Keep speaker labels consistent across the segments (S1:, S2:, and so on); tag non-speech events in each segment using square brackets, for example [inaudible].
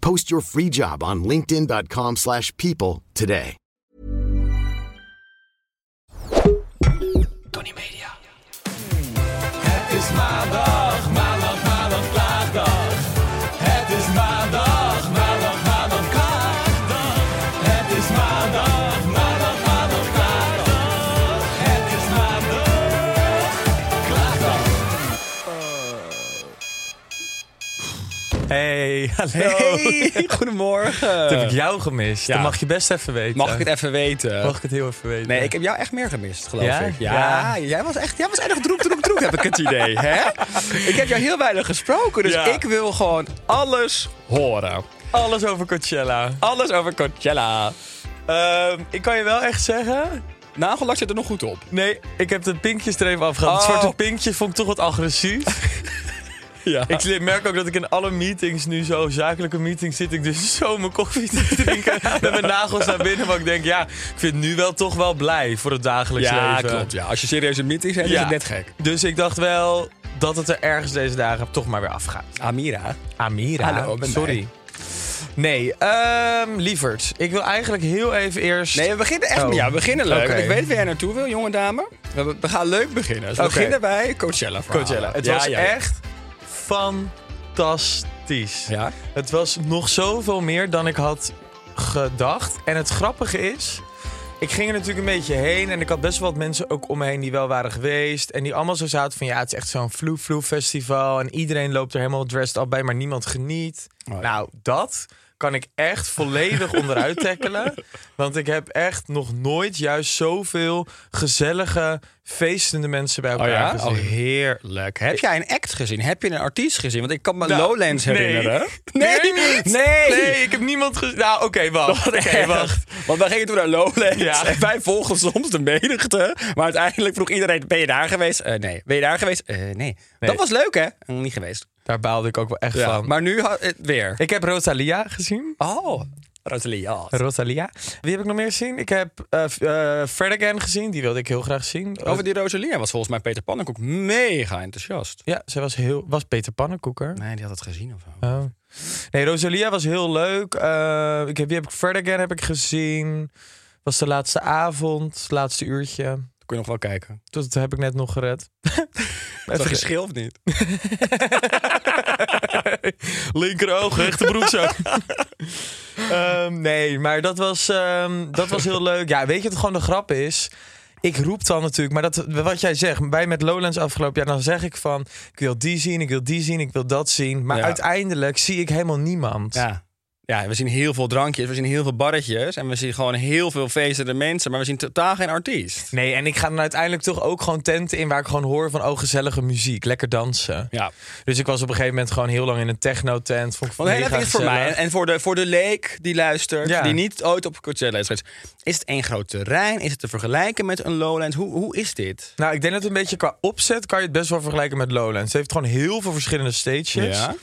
S1: Post your free job on linkedin.com/people slash people today.
S2: Tony Media. Het is maandag, maandag, maandag, klaagdag. Het is maandag, maandag, maandag, klaagdag. Het is maandag, maandag, maandag, klaagdag. Het is maandag, klaagdag.
S3: Hey, hallo.
S4: Hey,
S3: Dat heb
S4: [laughs] goedemorgen.
S3: ik jou gemist.
S4: Ja.
S3: Dat mag je best even weten.
S4: Mag ik het even weten?
S3: Mag ik het heel even weten?
S4: Nee, ik heb jou echt meer gemist, geloof
S3: Ja?
S4: ik. Ja,
S3: Ja.
S4: Jij, was echt, jij was erg droep, droep, droep, heb ik het idee. [laughs] Hè? Ik heb jou heel weinig gesproken, dus
S3: Ja.
S4: ik wil gewoon alles horen.
S3: alles over Coachella.
S4: Alles over Coachella.
S3: Ehm, ik kan je wel echt zeggen.
S4: Nagellak zit er nog goed op.
S3: Nee, ik heb de pinkjes er even afgehaald.
S4: Oh.
S3: Het zwarte pinkje vond ik toch wat
S4: [laughs]
S3: agressief.
S4: Ja.
S3: ik sli- merk ook dat ik in alle meetings nu zo, zakelijke meetings, zit ik dus [laughs] zo mijn koffie te
S4: [laughs]
S3: drinken. met mijn nagels naar binnen. Want ik denk, ja, ik vind nu wel toch wel blij voor het dagelijks
S4: ja,
S3: leven.
S4: klopt. Ja. Als je serieus in meetings hebt, is
S3: Ja.
S4: het net gek.
S3: Dus ik dacht wel dat het er ergens deze dagen toch maar weer afgaat.
S4: Amira.
S3: Amira.
S4: Hallo, ik ben
S3: sorry. Nee, ehm lieverd. Ik wil eigenlijk heel even eerst.
S4: Nee, we beginnen echt.
S3: Oh.
S4: Ja, we beginnen leuk.
S3: Oké.
S4: want Ik weet waar jij naartoe wil, jonge dame. We, we gaan leuk beginnen. Dus we
S3: Oké.
S4: beginnen bij Coachella.
S3: Coachella. Het was echt fantastisch.
S4: Ja.
S3: Het was nog zoveel meer dan ik had gedacht. En het grappige is. Ik ging er natuurlijk een beetje heen en ik had best wel wat mensen ook om me heen die wel waren geweest. En die allemaal zo zaten van ja, het is echt zo'n vloe-vloe festival. En iedereen loopt er helemaal dressed up bij, maar niemand geniet.
S4: Oh, ja.
S3: Nou, dat kan ik echt
S4: [laughs]
S3: volledig onderuit tackelen. Want ik heb echt nog nooit juist zoveel gezellige, feestende mensen bij elkaar
S4: Oh ja?
S3: gezien.
S4: Oh, heerlijk. Heb jij een act gezien? Heb je een artiest gezien? Want ik kan me
S3: Nou,
S4: Lowlands
S3: nee.
S4: herinneren.
S3: [laughs] Nee, niet.
S4: Nee. [laughs]
S3: Nee, ik heb niemand gezien. Nou, oké, wacht.
S4: Wat
S3: [laughs] Oké,
S4: erg.
S3: wacht.
S4: Want wij gingen toen naar Lowlands.
S3: Ja.
S4: En wij volgen soms de menigte. Maar uiteindelijk vroeg iedereen, ben je daar geweest? Eh, nee. Ben je daar geweest? Eh, nee. Dat was leuk, hè? Eh, niet geweest.
S3: Daar baalde ik ook wel echt
S4: Ja.
S3: van. Maar
S4: Maar nu ha- eh, weer.
S3: ik heb Rosalia gezien.
S4: Oh, Rosalie, ja.
S3: Rosalia. Wie heb ik nog meer gezien? Ik heb eh eh, Fred again gezien. Die wilde ik heel graag zien.
S4: Over die Rosalia was volgens mij Peter Pannenkoek mega enthousiast.
S3: Ja, zij was, heel, was Peter Pannenkoeker.
S4: Nee, die had het gezien of zo.
S3: Oh. Nee, Rosalia was heel leuk. Eh, ik heb, wie heb ik Fred again heb ik gezien. Was de laatste avond, laatste uurtje.
S4: Kun je nog wel kijken.
S3: Dat heb ik net nog gered. [laughs]
S4: Is dat
S3: Even-
S4: geschil of niet? [laughs]
S3: Linkeroog, rechterbroek zo. [laughs] Ehm, nee, maar dat was, ehm, dat was heel leuk. Ja, weet je wat gewoon de grap is? Ik roep dan natuurlijk, maar dat, wat jij zegt, wij met Lowlands afgelopen jaar, dan zeg ik van, ik wil die zien, ik wil die zien, ik wil dat zien. Maar
S4: Ja.
S3: uiteindelijk zie ik helemaal niemand.
S4: Ja. Ja, we zien heel veel drankjes, we zien heel veel barretjes en we zien gewoon heel veel feestende mensen, maar we zien totaal geen artiest.
S3: Nee, en ik ga dan uiteindelijk toch ook gewoon tenten in waar ik gewoon hoor van, oh, gezellige muziek, lekker dansen.
S4: Ja.
S3: Dus ik was op een gegeven moment gewoon heel lang in een techno-tent. Vond ik
S4: Want heel
S3: mega
S4: even iets voor
S3: gezellig.
S4: mij en- en voor de, voor de leek die luistert,
S3: Ja.
S4: die niet ooit op Coachella is geweest. Is het één groot terrein? Is het te vergelijken met een Lowlands? Hoe, hoe is dit?
S3: Nou, ik denk dat een beetje qua opzet kan je het best wel vergelijken met Lowlands. Het heeft gewoon heel veel verschillende stages.
S4: Ja.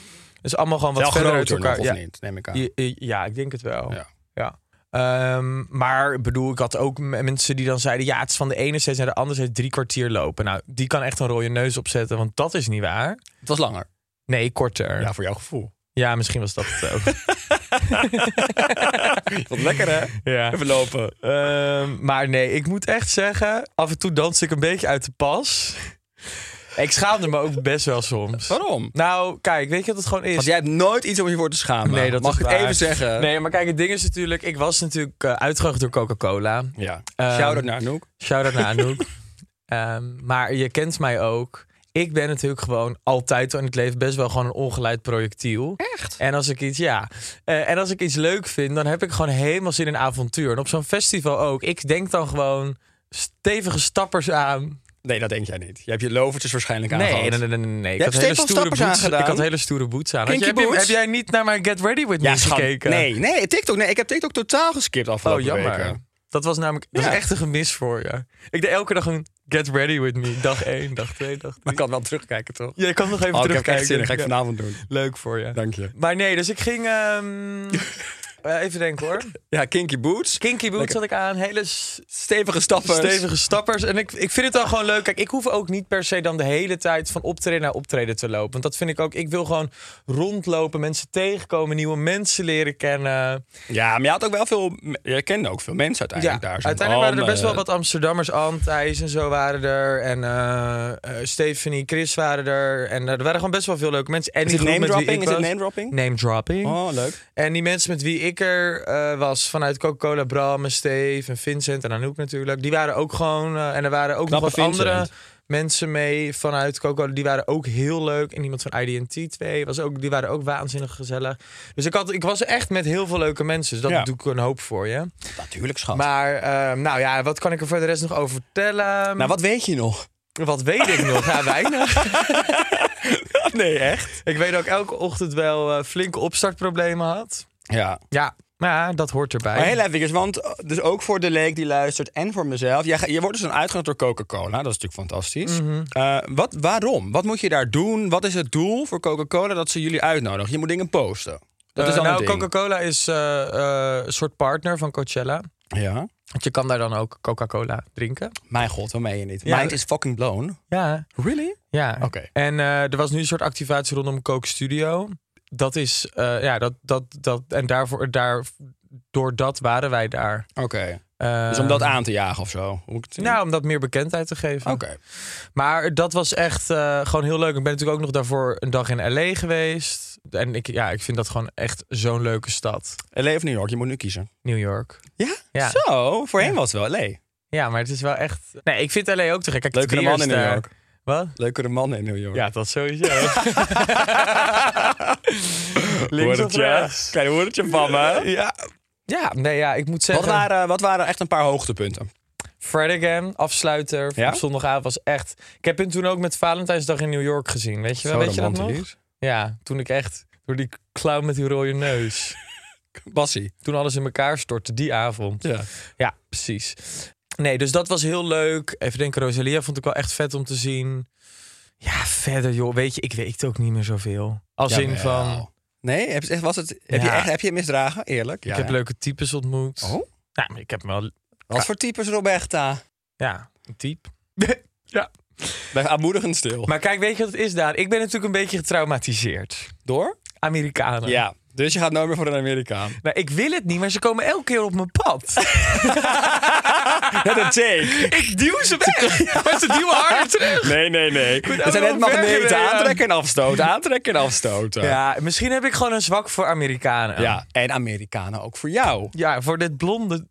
S3: Dus allemaal gewoon wat
S4: Wel
S3: verder uit
S4: groter
S3: elkaar.
S4: nog, of
S3: ja.
S4: niet? Neem ik aan.
S3: I- i- ja, ik denk het wel.
S4: Ja.
S3: Ja. Ehm, maar ik bedoel, ik had ook m- mensen die dan zeiden: ja, het is van de ene steeds naar de andere steeds drie kwartier lopen. Nou, die kan echt een rode neus opzetten, want dat is niet waar.
S4: Het was langer.
S3: Nee, korter. Ja,
S4: voor jouw gevoel.
S3: misschien was dat het
S4: [laughs]
S3: ook.
S4: Wat lekker hè?
S3: [laughs] ja.
S4: Even lopen.
S3: Ehm, maar nee, ik moet echt zeggen, af en toe dans ik een beetje uit de pas. Ik schaamde me ook best wel soms.
S4: Waarom?
S3: Nou, kijk, weet je wat het gewoon is?
S4: Want jij hebt nooit iets om je voor te schamen.
S3: Nee, dat
S4: Mag
S3: is
S4: ik
S3: waar.
S4: het even zeggen?
S3: Nee, maar kijk, het ding is natuurlijk... Ik was natuurlijk eh uitgeroogd door Coca-Cola.
S4: Ja.
S3: Ehm,
S4: Shout-out naar Noek.
S3: Shout-out
S4: [laughs]
S3: naar Anouk. Ehm, maar je kent mij ook. Ik ben natuurlijk gewoon altijd al in het leven best wel gewoon een ongeleid projectiel. Echt? En als ik iets, ja. Eh, en als ik iets leuk vind, dan heb ik gewoon helemaal zin in avontuur. En op zo'n festival ook. Ik denk dan gewoon stevige stappers aan.
S4: Nee, dat denk jij niet. Je hebt je lovertjes waarschijnlijk aan.
S3: Nee, nee, nee, nee. nee. Ik,
S4: hebt
S3: had hele
S4: stevige
S3: stoere
S4: stappers
S3: boots,
S4: aangedaan.
S3: ik had hele stoere boots aan. Had
S4: Kinky
S3: je- heb, je-
S4: boots?
S3: heb jij niet naar mijn Get Ready With
S4: Ja,
S3: Me
S4: schat.
S3: gekeken?
S4: Nee, nee, TikTok. Nee, ik heb TikTok totaal geskipt
S3: Oh,
S4: afgelopen
S3: jammer.
S4: weken.
S3: Dat was namelijk dat is
S4: Ja.
S3: echt een gemis voor je. Ik deed elke dag een Get Ready With Me. Dag 1, dag 2, dag 3.
S4: [laughs] Maar ik kan wel terugkijken, toch?
S3: Jij kan nog even
S4: Oh, ik heb
S3: terugkijken.
S4: echt zin in. Ga ik
S3: Ja.
S4: vanavond doen.
S3: Leuk voor je.
S4: Dank je.
S3: Maar nee, dus ik ging... ehm,
S4: [laughs]
S3: eh, even denken hoor.
S4: Ja, Kinky Boots.
S3: Kinky boots had ik aan. Hele s-
S4: Stevige stappen.
S3: stevige stappers. En ik, ik vind het dan gewoon leuk. Kijk, ik hoef ook niet per se dan de hele tijd van optreden naar optreden te lopen. Want dat vind ik ook... Ik wil gewoon rondlopen, mensen tegenkomen, nieuwe mensen leren kennen.
S4: Ja, maar je had ook wel veel... Je kende ook veel mensen uiteindelijk daar. Zo'n
S3: uiteindelijk waren er
S4: Anne,
S3: best wel wat Amsterdammers. Ann, Thijs en zo waren er. En eh, eh, Stephanie, Chris waren er. En eh, er waren gewoon best wel veel leuke mensen. En
S4: Is
S3: die
S4: het
S3: groep met wie
S4: name-dropping?
S3: ik
S4: Is
S3: was-
S4: het name-dropping?
S3: Name-dropping.
S4: Oh, leuk.
S3: En die mensen met wie ik er eh, was, vanuit Coca-Cola, Bram en Steve en Vincent en Anouk natuurlijk, die waren ook gewoon. eh, en er waren ook
S4: Knappe
S3: nog wat
S4: Vincent.
S3: andere mensen mee vanuit Coca-Cola. Die waren ook heel leuk. En iemand van IDT 2 was ook, die waren ook waanzinnig gezellig. Dus ik, had, ik was echt met heel veel leuke mensen. Dus dat
S4: Ja.
S3: doe ik een hoop voor je.
S4: Natuurlijk, schat.
S3: Maar eh, nou ja, wat kan ik er voor de rest nog over vertellen?
S4: nou, wat weet je
S3: [laughs]
S4: nog?
S3: Wat weet ik nog? Ja, weinig. [laughs]
S4: nee, echt?
S3: ik weet dat ik elke ochtend wel eh, flinke opstartproblemen had.
S4: Ja.
S3: Ja, maar ja, dat hoort erbij.
S4: Maar heel even, want eh, dus ook voor de leek die luistert en voor mezelf. Jij, ga- je wordt dus een uitgenodigd door Coca-Cola. Dat is natuurlijk fantastisch.
S3: Mhm.
S4: Eh, wat, waarom? Wat moet je daar doen? Wat is het doel voor Coca-Cola dat ze jullie uitnodigen? Je moet dingen posten. Dat is
S3: Eh,
S4: dan
S3: nou,
S4: het ding.
S3: Coca-Cola is eh, eh, een soort partner van Coachella.
S4: Ja.
S3: Want je kan daar dan ook Coca-Cola drinken.
S4: Mijn god, wat meen je niet?
S3: Ja.
S4: Mind is fucking blown.
S3: Ja.
S4: Really?
S3: ja.
S4: Oké.
S3: En eh, er was nu een soort activatie rondom Coke Studio. Dat is, eh, ja, dat, dat, dat, en daarvoor, daar, door dat waren wij daar.
S4: Oké.
S3: Eh,
S4: Dus om dat aan te jagen of zo? Hoe moet ik het zien?
S3: Nou, ah. om dat meer bekendheid te geven.
S4: Oké.
S3: Maar dat was echt eh, gewoon heel leuk. Ik ben natuurlijk ook nog daarvoor een dag in L.A. geweest. En ik, ja, ik vind dat gewoon echt zo'n leuke stad.
S4: LA Eh, of New York, je moet nu kiezen.
S3: New York.
S4: Ja?
S3: Ja.
S4: Zo, voorheen was het wel LA.
S3: Ja, maar het is wel echt... Nee, ik vind L.A. ook te gek. Kijk,
S4: Leukere
S3: Trier is
S4: man in New
S3: daar.
S4: York.
S3: Wat?
S4: Leukere man in New York.
S3: Ja, dat sowieso.
S4: Hoor
S3: Links
S4: het
S3: of rechts?
S4: Klein woordje van me.
S3: Ja. [laughs] Ja, nee, ja, ik moet
S4: Wat
S3: zeggen...
S4: waren, wat waren echt een paar hoogtepunten?
S3: Freddigan, afsluiter
S4: Ja?
S3: op zondagavond was echt... Ik heb hem toen ook met Valentijnsdag in New York gezien. Weet je wel, weet je dat nog? Ja, toen ik echt door die clown met die rode neus...
S4: Bassie.
S3: toen alles in elkaar stortte, die avond.
S4: Ja.
S3: Ja, precies. Nee, dus dat was heel leuk. Even denken, Rosalia vond ik wel echt vet om te zien. Ja, verder joh, weet je, ik weet ook niet meer zoveel. Als in van,
S4: Nee, heb, je echt- was het, heb, je
S3: Ja.
S4: echt, heb je het misdragen? Eerlijk?
S3: ik heb leuke types ontmoet.
S4: Oh?
S3: Ja, maar Nou, ik heb wel,
S4: Wat voor types, Roberta?
S3: ja, een [laughs] type.
S4: ja. Blijf aanmoedigend stil.
S3: Maar kijk, weet je wat het is daar? Ik ben natuurlijk een beetje getraumatiseerd.
S4: Door?
S3: Amerikanen.
S4: Ja. Dus je gaat nooit meer voor een Amerikaan.
S3: Nou, ik wil het niet, maar ze komen elke keer op mijn [laughs] pad.
S4: Net een take.
S3: [laughs] ik duw ze weg, maar ze [laughs] duwen
S4: [laughs]
S3: harder terug.
S4: Nee, nee, nee. We
S3: ook
S4: zijn net
S3: wel ver
S4: magneten.
S3: gereden.
S4: Aantrekken en afstoten. Aantrekken en afstoten.
S3: Ja, misschien heb ik gewoon een zwak voor Amerikanen.
S4: Ja, en Amerikanen ook voor jou.
S3: Ja, voor dit blonde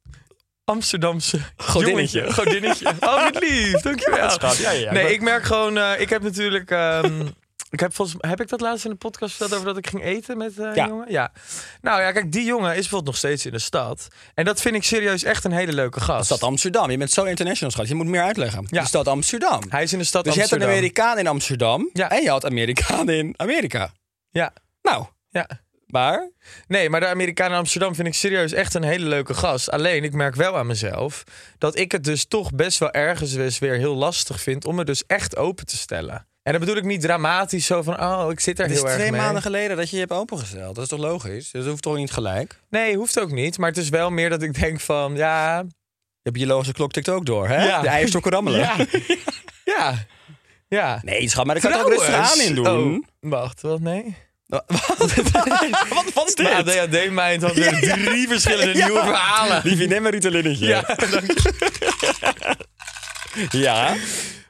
S3: Amsterdamse
S4: Godinnetje.
S3: jongetje. Godinnetje.
S4: [laughs]
S3: Oh, wat lief. Dankjewel.
S4: Ja, schat. Ja, ja, ja.
S3: nee,
S4: Maar-
S3: ik merk gewoon... eh, ik heb natuurlijk... ehm, ik heb, volgens, heb ik dat laatst in de podcast verteld over dat ik ging eten met eh, een
S4: Ja.
S3: jongen? Ja. Nou ja, kijk, die jongen is bijvoorbeeld nog steeds in de stad. En dat vind ik serieus echt een hele leuke gast.
S4: Stad Amsterdam. Je bent zo international, schat. Je moet meer uitleggen.
S3: Ja.
S4: De stad Amsterdam.
S3: Hij is in de stad
S4: dus je had een
S3: Amsterdam.
S4: Amerikaan in Amsterdam.
S3: Ja.
S4: En je had Amerikaan in Amerika.
S3: Ja,
S4: Nou,
S3: ja.
S4: maar...
S3: Nee, maar de Amerikaan in Amsterdam vind ik serieus echt een hele leuke gast. Alleen, ik merk wel aan mezelf dat ik het dus toch best wel ergens eens weer heel lastig vind om me dus echt open te stellen. En dat bedoel ik niet dramatisch zo van, oh, ik zit er
S4: Het
S3: heel
S4: is
S3: erg
S4: twee
S3: mee.
S4: maanden geleden dat je je hebt opengesteld. Dat is toch logisch? Dat hoeft toch niet gelijk?
S3: Nee, hoeft ook niet. Maar het is wel meer dat ik denk van, ja,
S4: Je biologische klok tikt ook door, hè?
S3: Ja.
S4: De eierstokken [laughs] rammelen.
S3: ja, ja, ja.
S4: Nee, schat, maar daar kan je ook rustig
S3: Trouwens-
S4: aan in doen.
S3: Oh, wacht, wat, nee?
S4: [laughs] Wat,
S3: [laughs]
S4: wat is
S3: Mijn ADHD-mind had weer drie verschillende nieuwe verhalen.
S4: Die vindt een Ritalinnetje.
S3: Ja,
S4: [laughs] Ja.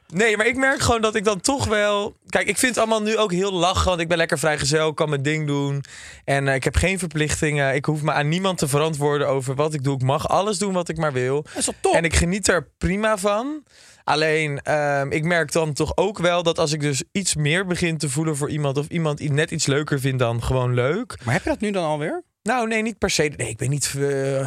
S3: Nee, maar ik merk gewoon dat ik dan toch wel... Kijk, ik vind het allemaal nu ook heel lachen, want ik ben lekker vrijgezel, kan mijn ding doen. En eh, ik heb geen verplichtingen. Ik hoef me aan niemand te verantwoorden over wat ik doe. Ik mag alles doen wat ik maar wil. Dat
S4: is toch top?
S3: En ik geniet er prima van. Alleen, ehm, ik merk dan toch ook wel dat als ik dus iets meer begin te voelen voor iemand... of iemand i- net iets leuker vindt dan gewoon leuk...
S4: Maar heb je dat nu dan alweer?
S3: Nou, nee, niet per se. Nee, ik ben niet eh,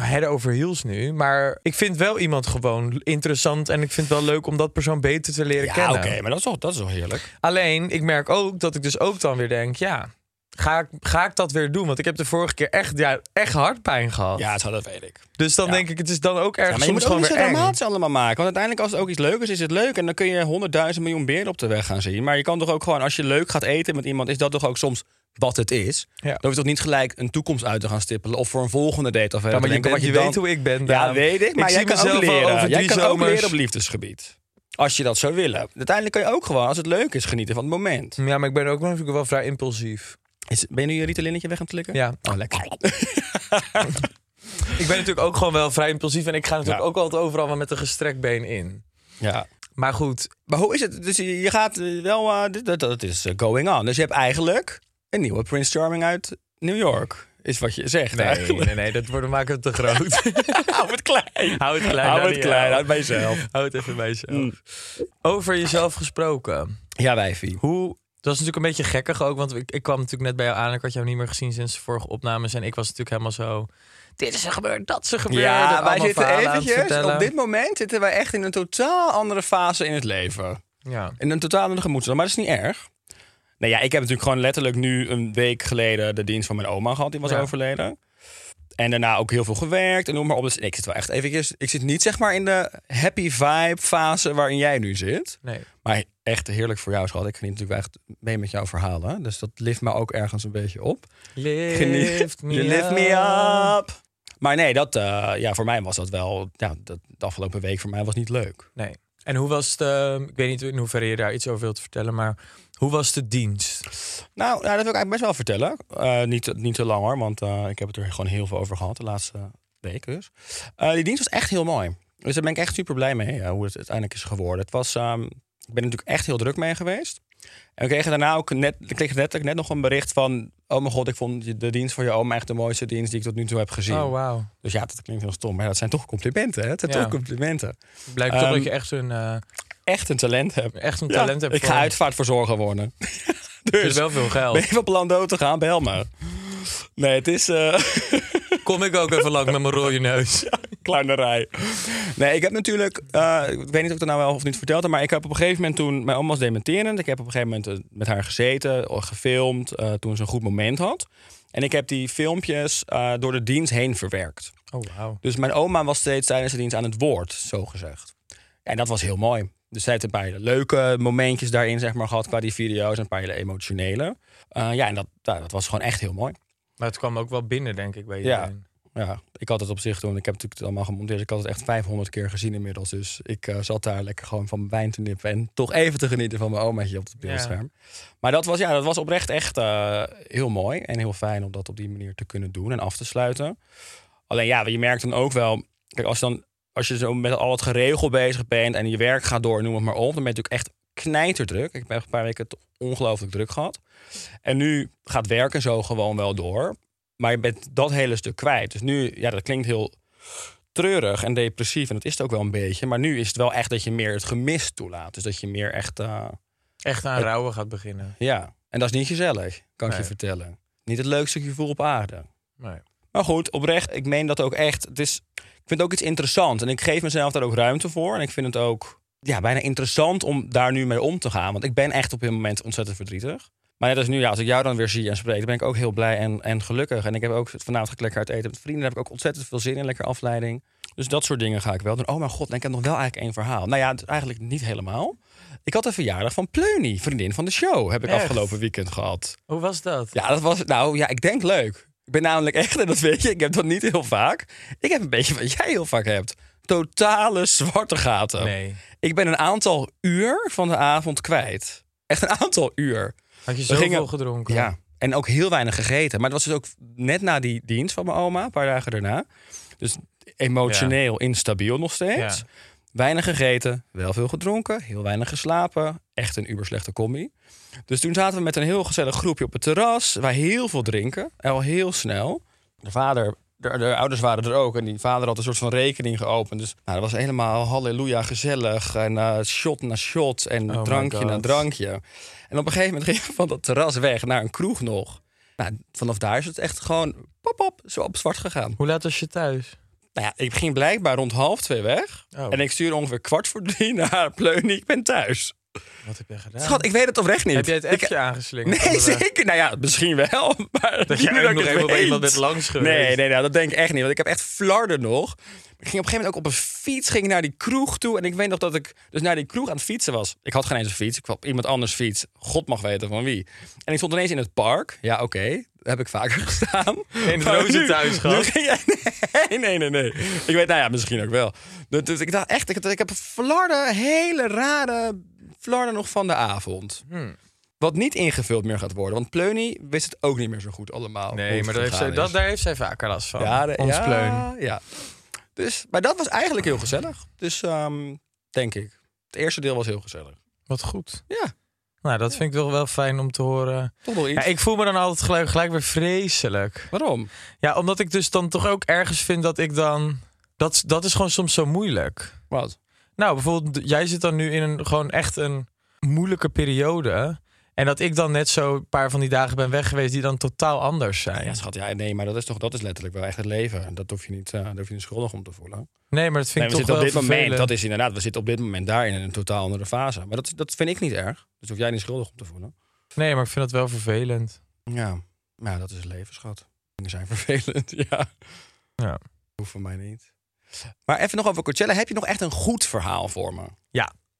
S3: head over heels nu. Maar ik vind wel iemand gewoon interessant. En ik vind het wel leuk om dat persoon beter te leren
S4: Ja,
S3: kennen.
S4: oké, maar dat is, toch, dat is toch heerlijk?
S3: Alleen, ik merk ook dat ik dus ook dan weer denk... Ja, ga ik, ga ik dat weer doen? Want ik heb de vorige keer echt, ja, echt hartpijn gehad.
S4: Ja, zo, dat weet ik.
S3: Dus dan denk ik, het is dan ook erg
S4: Ja, maar je
S3: soms
S4: moet ook
S3: gewoon
S4: niet zo
S3: weer eng.
S4: dramatisch allemaal maken. Want uiteindelijk als het ook iets leuk is, is het leuk. En dan kun je honderdduizend miljoen beren op de weg gaan zien. Maar je kan toch ook gewoon, als je leuk gaat eten met iemand... is dat toch ook soms wat het is? Dan hoef je toch niet gelijk een toekomst uit te gaan stippelen... of voor een volgende date of
S3: maar je bent- je weet hoe ik ben,
S4: Ja,
S3: Daan.
S4: weet ik,
S3: Ik
S4: maar jij
S3: zie
S4: kan ook
S3: mezelf al
S4: leren.
S3: over
S4: jij
S3: drie
S4: kan ook
S3: zomers.
S4: leren op liefdesgebied. Als je dat zou willen. Uiteindelijk kan je ook gewoon, als het leuk is, genieten van het moment.
S3: Ja, maar ik ben ook natuurlijk wel vrij impulsief.
S4: Is, ben je nu je Ritalininnetje weg aan het klikken?
S3: Ja.
S4: Oh, lekker.
S3: [laughs] Ik ben natuurlijk ook gewoon wel vrij impulsief. En ik ga natuurlijk
S4: Ja.
S3: ook altijd overal wel met een gestrekt been in.
S4: ja.
S3: Maar goed,
S4: Maar hoe is het? Dus je je gaat eh, wel, eh, dit- dat, dat is eh, going on. Dus je hebt eigenlijk een nieuwe Prince Charming uit New York. Is wat je zegt
S3: nee,
S4: eigenlijk.
S3: nee, nee, dat wordt, maken we te groot.
S4: [laughs] Hou het klein.
S3: Hou het klein. nou,
S4: Hou het
S3: die-
S4: klein, hou het bij jezelf.
S3: Hou het even bij jezelf. Over jezelf gesproken.
S4: Ja, wijfie.
S3: Hoe... Dat was natuurlijk een beetje gekkig ook, want ik, ik kwam natuurlijk net bij jou aan. Ik had jou niet meer gezien sinds de vorige opnames. En ik was natuurlijk helemaal zo... Dit is er gebeurd, dat is er gebeurd.
S4: Ja,
S3: en
S4: wij
S3: allemaal
S4: zitten
S3: verhalen aan het
S4: eventjes,
S3: vertellen.
S4: op dit moment zitten wij echt in een totaal andere fase in het leven.
S3: Ja.
S4: In een totaal andere gemoedsstand, maar dat is niet erg. Nou ja, ik heb natuurlijk gewoon letterlijk nu een week geleden de dienst van mijn oma gehad. Die was
S3: Ja.
S4: overleden. En daarna ook heel veel gewerkt en noem maar op. Dus ik zit wel echt eventjes... Ik zit niet zeg maar in de happy vibe fase waarin jij nu zit.
S3: Nee.
S4: Maar echt heerlijk voor jou, schat. Ik geniet natuurlijk echt mee met jouw verhalen. Dus dat lift me ook ergens een beetje op.
S3: Lift me
S4: You lift me
S3: up.
S4: up. Maar nee, dat, eh, ja, voor mij was dat wel... Ja, dat, de afgelopen week voor mij was niet leuk.
S3: Nee. En hoe was de... Ik weet niet in hoeverre je daar iets over wilt vertellen, maar... Hoe was de dienst?
S4: Nou, nou, dat wil ik eigenlijk best wel vertellen. Eh, niet, niet te lang hoor, want eh, ik heb het er gewoon heel veel over gehad de laatste week dus. Eh, die dienst was echt heel mooi. Dus daar ben ik echt super blij mee eh, hoe het uiteindelijk is geworden. Het was, ehm, ik ben er natuurlijk echt heel druk mee geweest. En we kregen daarna ook net, ik kreeg net, net nog een bericht van... Oh mijn god, ik vond je- de dienst voor je oma echt de mooiste dienst die ik tot nu toe heb gezien.
S3: Oh, wauw.
S4: Dus ja, dat klinkt heel stom, maar dat zijn toch complimenten. Hè? Het zijn
S3: Ja.
S4: toch complimenten.
S3: Blijkt toch
S4: Ehm,
S3: dat je echt een, eh,
S4: Echt een talent heb.
S3: echt een
S4: Ja,
S3: talent hebt.
S4: ik ga
S3: voor-
S4: uitvaartverzorger worden. [laughs] Dus-
S3: Het is wel veel [laughs] geld.
S4: Ben je van plan dood te gaan? Bel me. Nee, het is eh [laughs]
S3: Kom ik ook even lang met mijn rode neus.
S4: kleinerij. Nee, ik heb natuurlijk... eh, ik weet niet of ik dat nou wel of niet vertelde... maar ik heb op een gegeven moment toen... Mijn oma was dementerend. Ik heb op een gegeven moment eh, met haar gezeten, eh, gefilmd... eh, toen ze een goed moment had. En ik heb die filmpjes eh, door de dienst heen verwerkt.
S3: Oh, wauw.
S4: Dus mijn oma was steeds tijdens de dienst aan het woord, zo gezegd. En dat was heel mooi. Dus zij heeft een paar hele leuke momentjes daarin zeg maar, gehad qua die video's. En een paar hele emotionele. Eh, ja, en dat, nou, dat was gewoon echt heel mooi.
S3: Maar het kwam ook wel binnen, denk ik, bij
S4: Ja.
S3: iedereen.
S4: Ja, ik had het op zich toen. Ik heb natuurlijk het allemaal gemonteerd. Ik had het echt 500 keer gezien inmiddels. Dus ik eh, zat daar lekker gewoon van wijn te nippen. En toch even te genieten van mijn omaatje op het
S3: Ja.
S4: beeldscherm. Maar dat was, ja, dat was oprecht echt eh, heel mooi. En heel fijn om dat op die manier te kunnen doen en af te sluiten. Alleen ja, je merkt dan ook wel. Kijk, als, dan, als je zo met al het geregel bezig bent. en je werk gaat door, noem het maar op. dan ben je natuurlijk echt knijterdruk. Ik heb echt een paar weken het ongelooflijk druk gehad. En nu gaat werken zo gewoon wel door. Maar je bent dat hele stuk kwijt. Dus nu, ja, dat klinkt heel treurig en depressief. En dat is het ook wel een beetje. Maar nu is het wel echt dat je meer het gemis toelaat. Dus dat je meer echt, eh,
S3: Echt aan rouwen gaat beginnen.
S4: ja. En dat is niet gezellig, kan ik
S3: Nee.
S4: je vertellen. Niet het leukste gevoel op aarde.
S3: Nee.
S4: Maar goed, oprecht, ik meen dat ook echt. Het is, ik vind het ook iets interessants. En ik geef mezelf daar ook ruimte voor. En ik vind het ook ja, bijna interessant om daar nu mee om te gaan. Want ik ben echt op dit moment ontzettend verdrietig. Maar net als nu, ja, als ik jou dan weer zie en spreek, dan ben ik ook heel blij en, en gelukkig. En ik heb ook vanavond ga ik lekker uit eten met vrienden. Daar heb ik ook ontzettend veel zin in, lekker afleiding. Dus dat soort dingen ga ik wel doen. Oh mijn god, en ik heb nog wel eigenlijk één verhaal. Nou ja, het is eigenlijk niet helemaal. Ik had een verjaardag van Pleuny, vriendin van de show, heb ik
S3: Echt?
S4: afgelopen weekend gehad.
S3: Hoe was dat?
S4: Ja, dat was nou ja, ik denk leuk. Ik ben namelijk echt, en dat weet je, ik heb dat niet heel vaak. Ik heb een beetje wat jij heel vaak hebt. Totale zwarte gaten.
S3: Nee.
S4: Ik ben een aantal uur van de avond kwijt. Echt een aantal uur.
S3: Had je
S4: We
S3: zoveel
S4: gingen-
S3: gedronken?
S4: Ja. En ook heel weinig gegeten. Maar het was dus ook net na die dienst van mijn oma, een paar dagen daarna. Dus emotioneel instabiel nog steeds.
S3: Ja.
S4: Weinig gegeten, wel veel gedronken, heel weinig geslapen. Echt een uber slechte combi. Dus toen zaten we met een heel gezellig groepje op het terras. Waar heel veel drinken. En al heel snel. De vader, de, de ouders waren er ook. En die vader had een soort van rekening geopend. Dus nou, dat was helemaal halleluja gezellig. En eh, shot na shot. En
S3: Oh my
S4: drankje na
S3: God.
S4: drankje. En op een gegeven moment [laughs] gingen we van dat terras weg naar een kroeg nog. Nou, vanaf daar is het echt gewoon pop, pop, zo op zwart gegaan.
S3: Hoe laat was je thuis?
S4: Nou ja, ik ging blijkbaar rond half twee weg.
S3: Oh.
S4: En ik stuur ongeveer kwart voor drie [laughs] naar Pleunie. Ik ben thuis.
S3: Wat heb je gedaan?
S4: Schat, ik weet het oprecht niet.
S3: heb jij het
S4: Ik-
S3: appje aangeslingerd?
S4: Nee,
S3: onderweg?
S4: zeker. Nou ja, misschien wel. [laughs] Maar
S3: Dat
S4: niet
S3: jij
S4: meer
S3: ook nog
S4: ik het
S3: even bij
S4: weet.
S3: iemand bent langs geweest.
S4: Nee, nee, nou, dat denk ik echt niet. Want ik heb echt flarden nog. Ik ging op een gegeven moment ook op een fiets ging ik naar die kroeg toe. En ik weet nog dat ik dus naar die kroeg aan het fietsen was. Ik had geen eens een fiets. Ik had op iemand anders fiets. God mag weten van wie. En ik stond ineens in het park. Ja, oké. Daar heb ik vaker [laughs] gestaan.
S3: Geen
S4: Maar
S3: rozen
S4: nu-
S3: thuis gehad?
S4: nu ging [laughs] jij- nee, nee, nee, nee. Ik weet, nou ja, misschien ook wel. Dus, dus ik dacht echt, ik, ik heb flarden, hele rare flarden nog van de avond. Wat niet ingevuld meer gaat worden. Want Pleuny wist het ook niet meer zo goed allemaal. hoe
S3: Nee,
S4: het
S3: maar daar heeft, zij,
S4: gegaan
S3: dat,
S4: is.
S3: daar heeft zij vaker last van.
S4: Ja, de-
S3: Ons
S4: ja,
S3: pleun.
S4: Ja. Dus, maar dat was eigenlijk heel gezellig. Dus ehm, denk ik. Het eerste deel was heel gezellig.
S3: Wat goed.
S4: Ja,
S3: Nou, dat vind ik toch wel fijn om te horen.
S4: toch wel
S3: Ja,
S4: iets.
S3: ik voel me dan altijd gelijk, gelijk weer vreselijk.
S4: Waarom?
S3: Ja, omdat ik dus dan toch ook ergens vind dat ik dan... Dat, dat is gewoon soms zo moeilijk.
S4: Wat?
S3: Nou, bijvoorbeeld, jij zit dan nu in een gewoon echt een moeilijke periode. En dat ik dan net zo een paar van die dagen ben weg geweest die dan totaal anders zijn.
S4: Ja, schat, ja, nee, maar dat is toch dat is letterlijk wel echt het leven. Dat hoef je niet, eh, daar hoef je niet schuldig om te voelen.
S3: Nee, maar dat vind
S4: Nee, we
S3: ik
S4: zitten
S3: toch
S4: op
S3: wel
S4: dit moment,
S3: vervelend.
S4: dat is inderdaad, we zitten op dit moment daar in een totaal andere fase. Maar dat, dat vind ik niet erg. Dus hoef jij niet schuldig om te voelen.
S3: Nee, maar ik vind dat wel vervelend.
S4: Ja, maar ja, dat is het leven, schat. Dingen zijn [laughs] vervelend, ja.
S3: Ja.
S4: Hoeft voor mij niet. Maar even nog over Coachella. Heb je nog echt een goed verhaal voor me?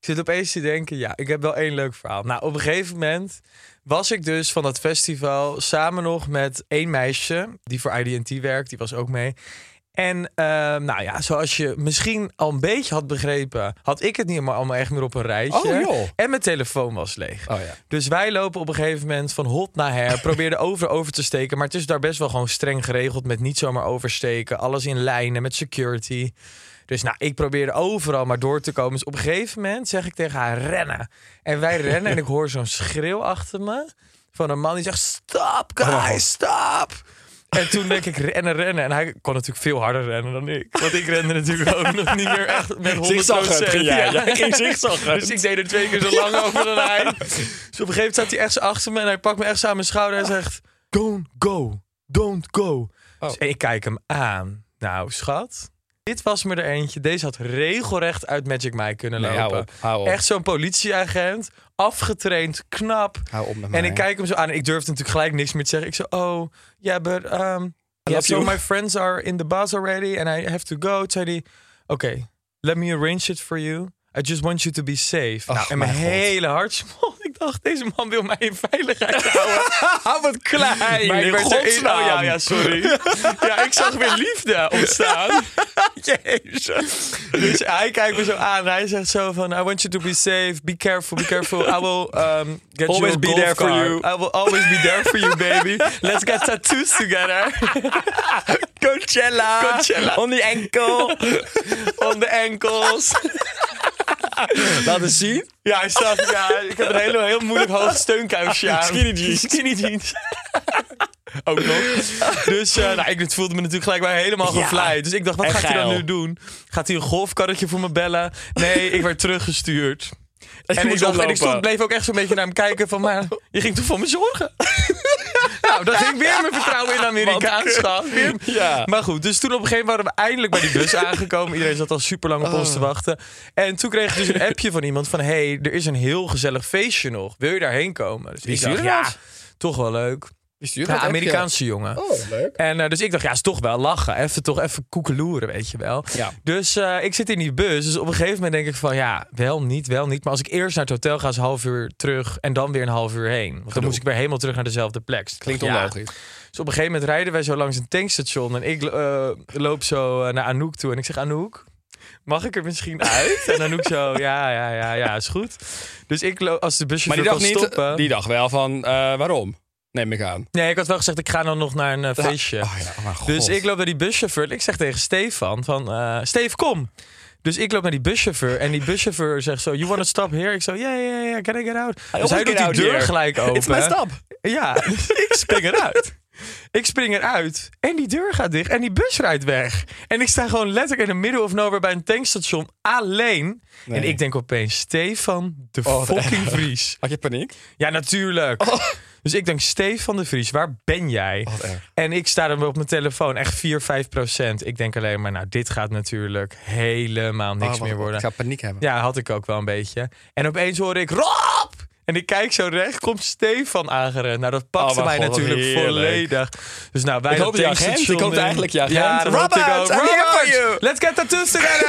S3: Ik zit opeens te denken, ja, ik heb wel één leuk verhaal. Nou, op een gegeven moment was ik dus van dat festival samen nog met één meisje die voor IDT werkt, die was ook mee. En ehm, nou ja, zoals je misschien al een beetje had begrepen, had ik het niet helemaal allemaal echt meer op een rijtje.
S4: Oh, joh.
S3: En mijn telefoon was leeg.
S4: Oh ja.
S3: Dus wij lopen op een gegeven moment van hot naar her. [laughs] Probeerden over over te steken. Maar het is daar best wel gewoon streng geregeld. Met niet zomaar oversteken. Alles in lijnen met security. Dus nou, ik probeerde overal maar door te komen. Dus op een gegeven moment zeg ik tegen haar rennen. En
S4: [laughs]
S3: wij rennen en ik hoor zo'n schreeuw achter me. Van een man die zegt stop
S4: Oh.
S3: guys, stop. En toen denk ik rennen, rennen. En hij kon natuurlijk veel harder rennen dan ik. Want ik rende natuurlijk ook nog niet meer echt met
S4: [laughs]
S3: 100%.
S4: Zigzaggend ging
S3: [laughs]
S4: jij. Jij ging [laughs] zigzaggend.
S3: Dus ik deed er twee keer zo lang over dan hij. [laughs] Dus op een gegeven moment staat hij echt zo achter me en hij pakt me echt zo aan mijn schouder en zegt: Don't go, don't go.
S4: Oh.
S3: Dus ik kijk hem aan. Nou, schat. Dit was me er eentje. Deze had regelrecht uit Magic Mike kunnen
S4: Nee,
S3: lopen.
S4: hou op, hou op.
S3: Echt zo'n politieagent. Afgetraind, knap.
S4: Hou op met
S3: En
S4: mij.
S3: ik kijk hem zo aan. En ik durfde natuurlijk gelijk niks meer te zeggen. Ik zo, oh, yeah, but um, yeah,
S4: love
S3: so
S4: you.
S3: my friends are in the bus already and I have to go. Toen zei hij, oké, let me arrange it for you. I just want you to be safe. nou, en mijn
S4: mijn God.
S3: hele hart smolt. [laughs] Ik dacht, deze man wil mij in
S4: [laughs]
S3: veiligheid houden. Hou wat klein.
S4: Maar in
S3: ik werd er-
S4: godsnaam.
S3: Oh, ja, ja, sorry.
S4: [laughs]
S3: ja, ik zag weer liefde ontstaan. Jezus. Dus hij kijkt me zo aan. en Hij zegt zo van, I want you to be safe. Be careful, be careful. I will um, get you
S4: Always
S3: a
S4: be
S3: golf
S4: there for
S3: cart.
S4: you.
S3: I will always be there for you,
S4: [laughs]
S3: baby. Let's get tattoos together.
S4: Coachella.
S3: Coachella.
S4: On the enkel.
S3: [laughs] On the ankles.
S4: Laat eens zien.
S3: Ja, hij staat, ja, ik heb een hele, heel moeilijk hoog steunkuifje aan.
S4: Skinny jeans.
S3: Skinny jeans. Ook nog. Dus eh, nou, ik het voelde me natuurlijk gelijk bij helemaal
S4: Ja.
S3: gevleid. Dus ik dacht, wat
S4: En
S3: gaat hij dan
S4: geil.
S3: nu doen? Gaat hij een golfkarretje voor me bellen? Nee, ik werd teruggestuurd. En ik,
S4: moest
S3: dacht, en ik
S4: oplopen.
S3: stond, bleef ook echt zo'n beetje naar hem kijken van... maar je ging toch voor me
S4: [laughs]
S3: zorgen? nou, dan ging weer mijn vertrouwen in Amerika
S4: Wat kut.
S3: aanschap. Weer-
S4: Ja.
S3: Maar goed, dus toen op een gegeven moment waren we eindelijk bij die
S4: [laughs]
S3: bus aangekomen. Iedereen zat al super lang op ons
S4: Oh.
S3: te wachten. En toen kreeg ik dus een appje van iemand van... hey, er is een heel gezellig feestje nog. Wil je daarheen komen? Dus ik dacht,
S4: stuurde
S3: ja,
S4: dat?
S3: toch wel leuk.
S4: Wie stuurt
S3: Ja,
S4: dat appje?
S3: Amerikaanse jongen.
S4: Oh, leuk.
S3: En eh, dus ik dacht, ja, is toch wel lachen. Even toch even koekeloeren, weet je wel.
S4: Ja.
S3: Dus eh, ik zit in die bus. Dus op een gegeven moment denk ik van, ja, wel niet, wel niet. Maar als ik eerst naar het hotel ga, is een half uur terug en dan weer een half uur heen. Want dan moest ik weer helemaal terug naar dezelfde plek. Dus ik
S4: Klinkt
S3: dacht, ja.
S4: onlogisch.
S3: Dus op een gegeven moment rijden wij zo langs een tankstation. En ik eh, loop zo eh, naar Anouk toe. En ik zeg, Anouk, mag ik er misschien uit? en Anouk zo, [laughs] ja, ja, ja, ja, is goed. Dus ik loop, als de busje
S4: Maar
S3: kan
S4: die dacht niet,
S3: stoppen...
S4: die dacht wel van, eh, waarom? Neem ik aan.
S3: Nee, ik had wel gezegd, ik ga dan nog naar een eh, feestje.
S4: Oh ja, oh mijn god.
S3: Dus ik loop naar die buschauffeur en ik zeg tegen Stefan van... eh Steve, kom. Dus ik loop naar die buschauffeur en die buschauffeur zegt zo, you wanna stop here? Ik zo, ja, ja, ja, can I get out? Dus
S4: want
S3: hij
S4: get
S3: doet die
S4: out
S3: deur
S4: here.
S3: gelijk open.
S4: It's my stop.
S3: Ja, [laughs] dus ik spring eruit. Ik spring eruit en die deur gaat dicht en die bus rijdt weg. En ik sta gewoon letterlijk in de middle of nowhere bij een tankstation alleen. En ik denk opeens, Stefan de
S4: Oh, wat
S3: fucking
S4: erg.
S3: Vries.
S4: Had je paniek?
S3: Ja, natuurlijk. Dus ik denk, Stefan de Vries, waar ben jij?
S4: Oh. Wat erg.
S3: En ik sta dan op mijn telefoon, echt 4, 5 procent. Ik denk alleen maar, nou, dit gaat natuurlijk helemaal niks
S4: Oh,
S3: meer
S4: wacht,
S3: worden.
S4: Ik zou paniek hebben.
S3: Ja, had ik ook wel een beetje. En opeens hoor ik, Rob! En ik kijk zo recht, komt Stefan aangerend. Nou, dat pakte
S4: Oh, mijn
S3: mij
S4: God, wat
S3: natuurlijk
S4: heerlijk.
S3: volledig. Dus nou, wij
S4: Ik
S3: dat
S4: hoop je agent.
S3: tankstation
S4: Ik hoopte
S3: in.
S4: eigenlijk je agent.
S3: Ja, dat hoopte ik
S4: Robert,
S3: ook.
S4: I'm here for
S3: Robert,
S4: you.
S3: let's get the twos together!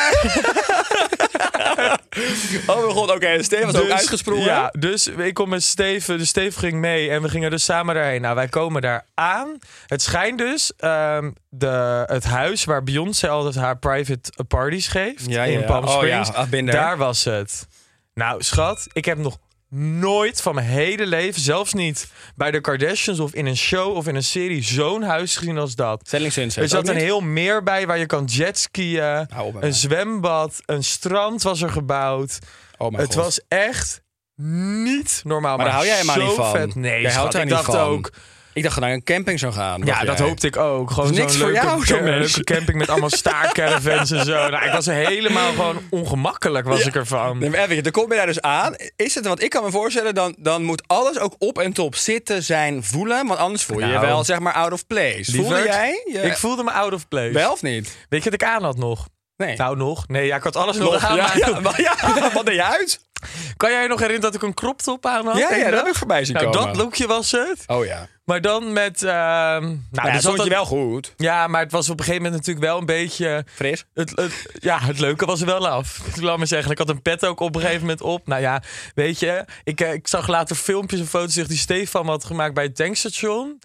S4: Oh mijn god, oké. Steven was ook
S3: Dus-
S4: uitgesprongen.
S3: Ja, dus ik kom met Steven. Dus Steven ging mee en we gingen dus samen daarheen. Nou, wij komen daar aan. Het schijnt dus ehm, de, het huis waar Beyoncé altijd haar private eh, parties geeft.
S4: Ja, ja,
S3: in
S4: ja.
S3: Palm
S4: Oh, ja.
S3: Springs.
S4: I've been there.
S3: daar was het. Nou, schat, ik heb nog nooit van mijn hele leven, zelfs niet bij de Kardashians of in een show of in een serie, zo'n huis gezien als dat.
S4: Selling Sunset
S3: Er zat
S4: ook
S3: een
S4: niet?
S3: heel meer bij waar je kan jetskiën.
S4: Hou op met
S3: Een
S4: mij.
S3: zwembad, een strand was er gebouwd.
S4: Oh mijn
S3: het
S4: god.
S3: was echt niet normaal.
S4: Maar daar hou jij maar
S3: zo
S4: niet van.
S3: Vet. Nee,
S4: jij
S3: schat,
S4: houdt daar
S3: ik
S4: niet
S3: dacht
S4: van.
S3: ook.
S4: Ik dacht dat naar een camping zou gaan.
S3: Ja, dat hoopte ik ook. Gewoon
S4: is
S3: zo'n
S4: niks voor
S3: leuke,
S4: jou,
S3: ca-
S4: jongens.
S3: leuke camping met allemaal staarcaravans en
S4: [laughs]
S3: zo. Nou, ik was helemaal gewoon ongemakkelijk was ik ervan.
S4: Nee, maar even, dan kom je daar dus aan. Is het, want ik kan me voorstellen, dan, dan moet alles ook op en top zitten, zijn, voelen. Want anders voel je je
S3: Nou.
S4: wel, zeg maar, out of place. Voelde
S3: Lieverd,
S4: jij? je
S3: Ik voelde me out of place.
S4: wel of niet?
S3: Weet je wat ik aan had nog?
S4: Nee.
S3: Nou, nog? Nee, ja, ik had alles nog, aan.
S4: ja,
S3: maar-
S4: [laughs] ja, maar
S3: [laughs]
S4: ja, wat deed je uit?
S3: Kan jij je nog herinneren dat ik een crop top aan had?
S4: Ja, ja,
S3: Ken je
S4: dat heb ik voorbij zien
S3: nou,
S4: komen.
S3: Dat lookje was het.
S4: Oh ja.
S3: Maar dan met... ehm, nou,
S4: Nou,
S3: er zat
S4: dat vond je
S3: een-
S4: wel goed.
S3: Ja, maar het was op een gegeven moment natuurlijk wel een beetje...
S4: Fris.
S3: Het, het- ja, het leuke was er wel af. Ik laat maar zeggen, ik had een pet ook op een gegeven moment op. Nou ja, weet je, ik, eh, ik zag later filmpjes en foto's die Stefan had gemaakt bij het tankstation.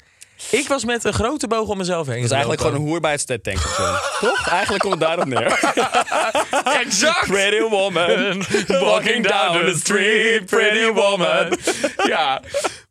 S3: Ik was met een grote boog om mezelf heen.
S4: Dat is eigenlijk gewoon een hoer bij het tank of zo. [laughs] Toch? Eigenlijk komt het daarop [laughs] neer.
S3: een [laughs] exact.
S4: Pretty woman,
S3: [laughs] Walking down the street, pretty woman. [laughs] Ja,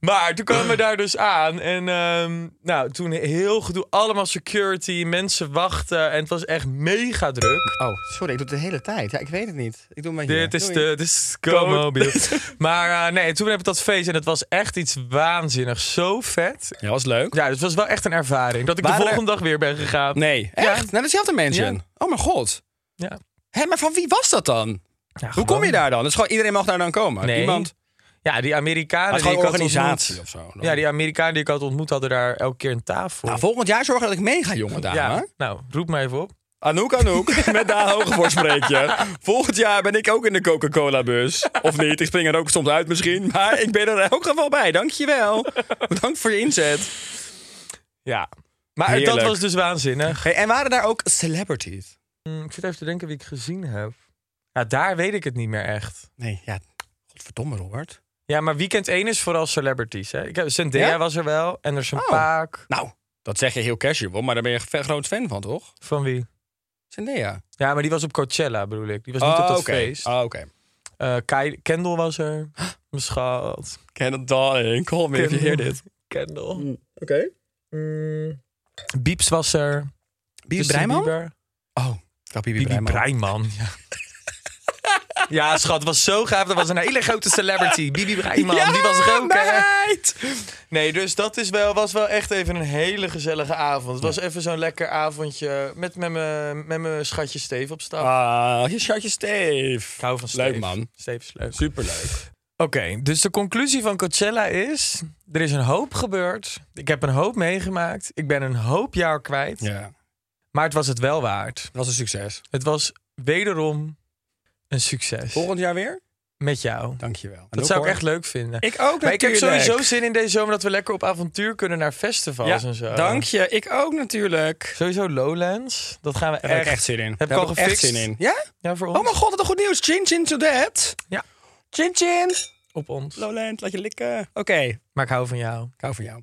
S3: maar toen
S4: [laughs]
S3: kwamen we daar dus aan. En ehm, nou, toen heel gedoe, allemaal security, mensen wachten. En het was echt mega druk.
S4: Oh, sorry, ik doe het de hele tijd. Ja, ik weet het niet. Ik doe maar hier.
S3: Dit is
S4: Doei.
S3: de dit is
S4: [laughs]
S3: Go-Mobile. maar eh, nee, toen heb ik dat feest en het was echt iets waanzinnigs. Zo vet.
S4: Ja, was leuk.
S3: Ja, dus het was wel echt een ervaring. Dat ik
S4: Waren
S3: de
S4: er-
S3: volgende dag weer ben gegaan.
S4: Nee, echt? Naar dezelfde mansion?
S3: Ja.
S4: Oh mijn god.
S3: Ja.
S4: Hé, maar van wie was dat dan?
S3: Ja,
S4: Hoe
S3: gewoon-
S4: kom je daar dan? Dus gewoon iedereen mag daar dan komen?
S3: Nee.
S4: Iemand?
S3: Ja, die Amerikanen.
S4: Maar het is gewoon
S3: die ik had
S4: organisatie
S3: ontmoet-
S4: of zo.
S3: Ja, die Amerikanen die ik had ontmoet hadden daar elke keer een tafel.
S4: Nou, volgend jaar zorgen dat ik meega, jongen, daar.
S3: ja, nou, roep maar even op.
S4: Anouk, Anouk, [laughs] met Daan Hogevoort spreek je. Volgend jaar ben ik ook in de Coca-Cola-bus. Of niet, ik spring er ook soms uit misschien. Maar ik ben er in elk geval bij, dankjewel. Bedankt voor je inzet.
S3: Ja. Maar dat
S4: Heerlijk.
S3: was dus waanzinnig.
S4: Hey, en waren daar ook celebrities?
S3: Hm, ik zit even te denken wie ik gezien heb. Ja, daar weet ik het niet meer echt.
S4: Nee, ja, godverdomme Robert.
S3: Ja, maar weekend 1 is vooral celebrities. Hè? Ik heb, Zendaya
S4: Ja?
S3: was er wel. Anderson
S4: Oh.
S3: Paak.
S4: Nou, dat zeg je heel casual, maar daar ben je een groot fan van, toch?
S3: Van wie?
S4: Zendaya.
S3: Ja, maar die was op Coachella, bedoel ik. Die was niet op dat
S4: oké.
S3: feest.
S4: Oh, oké.
S3: Eh, Kai- Kendall was er. [gasps] Mijn schat.
S4: Kendall darling, call me if you hear this.
S3: Kendall.
S4: Oké.
S3: Mm. Biebs was er.
S4: Bibi
S3: Justin
S4: Breiman?
S3: Bieber.
S4: Oh, dat Dus Bibi
S3: Bibi [laughs]
S4: Breiman.
S3: Breiman. Ja. ja, schat, was zo gaaf. Dat was een hele grote
S4: [laughs]
S3: celebrity. Bibi Breiman, die was er ook. hè?
S4: meid!
S3: Nee, dus dat is wel, was wel echt even een hele gezellige avond. Het was even zo'n lekker avondje met met mijn met mijn schatje Steve op stap.
S4: Ah, je schatje Steve.
S3: Ik hou van Steve.
S4: Leuk man.
S3: Steve is leuk.
S4: Superleuk.
S3: Oké, dus de conclusie van Coachella is: er is een hoop gebeurd. Ik heb een hoop meegemaakt. Ik ben een hoop jaar kwijt.
S4: Ja, dat
S3: Maar het was het wel waard.
S4: was een succes.
S3: Het was wederom een succes.
S4: Volgend jaar weer?
S3: Met jou.
S4: Dankjewel. En
S3: Dat
S4: ook
S3: zou ik
S4: hoor.
S3: echt leuk vinden.
S4: Ik ook
S3: maar ik heb
S4: natuurlijk.
S3: sowieso zin in deze zomer dat we lekker op avontuur kunnen naar festivals en zo.
S4: Ja, dank je. Ik ook natuurlijk.
S3: Sowieso Lowlands. Dat gaan we
S4: Daar heb
S3: echt.
S4: ik echt zin in.
S3: Heb ik
S4: Daar
S3: al gefixt.
S4: echt zin in. Ja?
S3: Ja, voor ons.
S4: Oh mijn god, wat een goed nieuws. Chin chin to that.
S3: Ja.
S4: Chin chin.
S3: Op ons.
S4: Lowland, laat je likken. Oké,
S3: Maar ik hou van jou.
S4: ik hou van jou.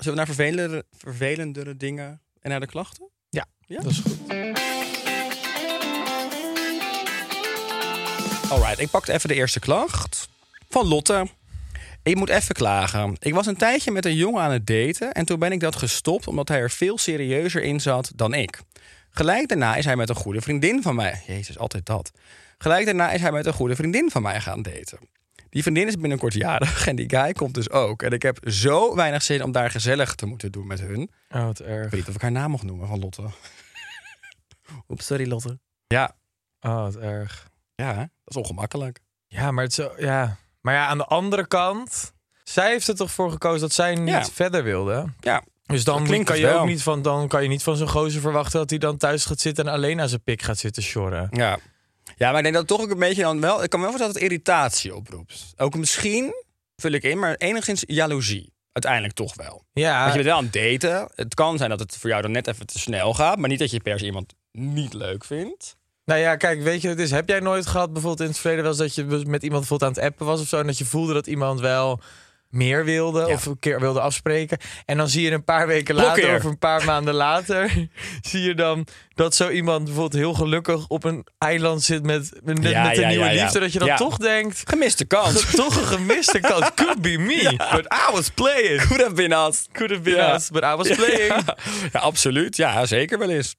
S4: Zullen we naar vervelendere, vervelendere dingen en naar de klachten?
S3: Ja,
S4: Ja?
S3: dat is goed.
S4: Alright, ik pakte even de eerste klacht van Lotte. Ik moet even klagen. Ik was een tijdje met een jongen aan het daten en toen ben ik dat gestopt omdat hij er veel serieuzer in zat dan ik. Gelijk daarna is hij met een goede vriendin van mij. Jezus, altijd dat. Gelijk daarna is hij met een goede vriendin van mij gaan daten. Die vriendin is binnenkort jarig en die guy komt dus ook. En ik heb zo weinig zin om daar gezellig te moeten doen met hun.
S3: Oh, wat
S4: Ik
S3: erg.
S4: weet niet of ik haar naam mag noemen van Lotte.
S3: [laughs] Oeps, sorry Lotte.
S4: Ja,
S3: Oh, wat erg.
S4: ja, hè? dat is ongemakkelijk.
S3: Ja, maar het zo, ja. Maar ja, aan de andere kant, zij heeft er toch voor gekozen dat zij niet
S4: Ja.
S3: verder wilde.
S4: Ja,
S3: Dus dan
S4: Dat klinkt
S3: kan
S4: het
S3: je
S4: wel.
S3: ook niet van, dan kan je niet van zo'n gozer verwachten dat hij dan thuis gaat zitten en alleen aan zijn pik gaat zitten sjorren.
S4: Ja. Ja, maar ik denk dat toch ook een beetje dan wel... Ik kan me wel voorstellen dat het irritatie oproept. Ook misschien, vul ik in, maar enigszins jaloezie. Uiteindelijk toch wel.
S3: Ja,
S4: Want je bent wel aan het daten. Het kan zijn dat het voor jou dan net even te snel gaat. Maar niet dat je per se iemand niet leuk vindt.
S3: nou ja, kijk, weet je, wat het is, heb jij nooit gehad bijvoorbeeld in het verleden wel eens dat je met iemand bijvoorbeeld aan het appen was of zo en dat je voelde dat iemand wel meer wilde
S4: Ja.
S3: of een keer wilde afspreken en dan zie je een paar weken later
S4: Blokkeer.
S3: of een paar maanden later [laughs] zie je dan dat zo iemand bijvoorbeeld heel gelukkig op een eiland zit met, met,
S4: Ja,
S3: met een
S4: ja,
S3: nieuwe
S4: ja, ja.
S3: liefde dat je dan
S4: Ja.
S3: toch denkt
S4: Gemiste kans.
S3: [laughs] dat toch een gemiste kans could be
S4: [laughs]
S3: me but I was playing
S4: Goed heb je naast.
S3: could have been
S4: Ja.
S3: us but I was
S4: [laughs]
S3: playing
S4: Ja, ja, absoluut. Ja, zeker wel eens.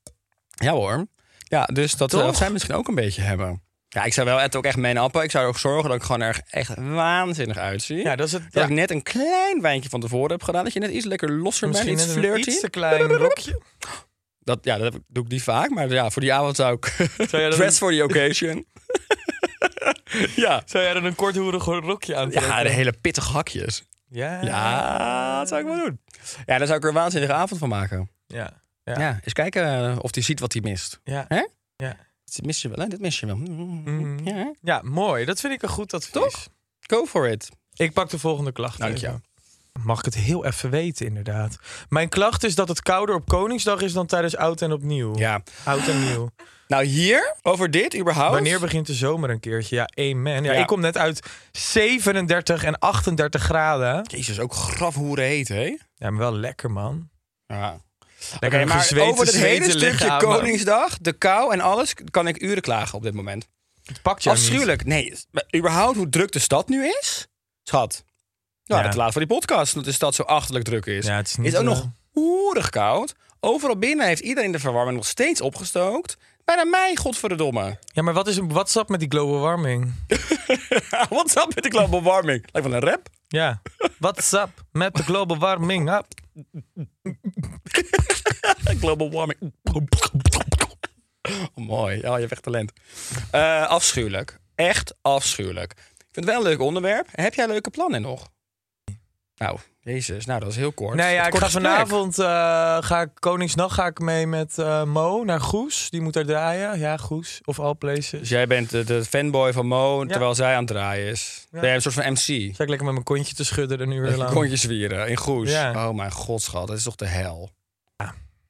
S4: Ja hoor. Ja, dus dat
S3: Toch?
S4: zou zij misschien ook een beetje hebben. Ja, ik zou wel het ook echt mijn appen. Ik zou er ook zorgen dat ik gewoon er echt waanzinnig uitzie.
S3: Ja, dat is het. ja.
S4: Dat ik net een klein wijntje van tevoren heb gedaan. Dat je net iets lekker losser bent,
S3: Misschien
S4: iets
S3: in een
S4: flirty.
S3: iets te klein rokje.
S4: Dat, ja, dat heb ik- doe ik niet vaak. Maar ja, voor die avond zou ik... [laughs]
S3: jij dat
S4: dress
S3: doen?
S4: for the occasion. [laughs] ja.
S3: Zou jij dan een korthoerig rokje aantrekken?
S4: Ja, de hele pittige hakjes.
S3: Ja.
S4: Ja, dat zou ik wel doen. Ja, daar zou ik er een waanzinnige avond van maken.
S3: Ja.
S4: Ja,
S3: Ja.
S4: eens kijken eh, of hij ziet wat hij mist.
S3: Ja.
S4: Hè?
S3: Ja.
S4: Dat mis je wel, hè? Dat mis je wel. Mm,
S3: Mm.
S4: Ja, hè?
S3: Ja, mooi. Dat vind ik een goed advies.
S4: Toch? Go for it.
S3: Ik pak de volgende klacht.
S4: Dank
S3: even. Mag ik het heel even weten, inderdaad. Mijn klacht is dat het kouder op Koningsdag is dan tijdens Oud en Opnieuw.
S4: Ja.
S3: Oud en Nieuw.
S4: Nou, hier, over dit überhaupt.
S3: Wanneer begint de zomer een keertje? Ja, amen. Oh. Ja,
S4: Ja.
S3: Ik kom net uit 37 en 38 graden.
S4: Jezus, ook graf hoe heet, hè?
S3: Ja, maar wel lekker, man.
S4: Ja.
S3: Lekker
S4: Oké, maar
S3: gezweten,
S4: over het hele
S3: zweten
S4: stukje
S3: lichaam.
S4: Koningsdag, de kou en alles, kan ik uren klagen op dit moment.
S3: Het pakt jou niet.
S4: Afschuwelijk. Nee, maar überhaupt hoe druk de stad nu is? Schat. Nou,
S3: Ja.
S4: dat laat voor die podcast, dat de stad zo achterlijk druk is.
S3: Ja, het is niet,
S4: ook
S3: eh,
S4: nog hoerig koud. Overal binnen heeft iedereen de verwarming nog steeds opgestookt. Bijna mij, godverdomme.
S3: Ja, maar wat is een WhatsApp met die global warming?
S4: [laughs] What's up met de global warming? Lijkt wel een rap.
S3: Ja. WhatsApp met de global warming up.
S4: Eh, Global warming. [laughs] Oh, mooi. Ja, je hebt echt talent. Eh, afschuwelijk. Echt afschuwelijk. Ik vind het wel een leuk onderwerp. Heb jij leuke plannen nog? Nou, jezus. Nou, dat is heel kort.
S3: Nou ja,
S4: Het
S3: ik
S4: korte
S3: ga
S4: gesprek.
S3: vanavond, eh, ga ik, Koningsnacht ga ik mee met eh, Mo naar Goes. Die moet daar draaien. Ja, Goes. Of All Places.
S4: Dus jij bent de, de fanboy van Mo, terwijl zij aan het draaien is. Ben jij een soort van MC?
S3: Sta ik lekker met mijn kontje te schudden een uur lang.
S4: Kontjes zwieren in Goes.
S3: Ja.
S4: Oh mijn god, schat. Dat is toch de hel?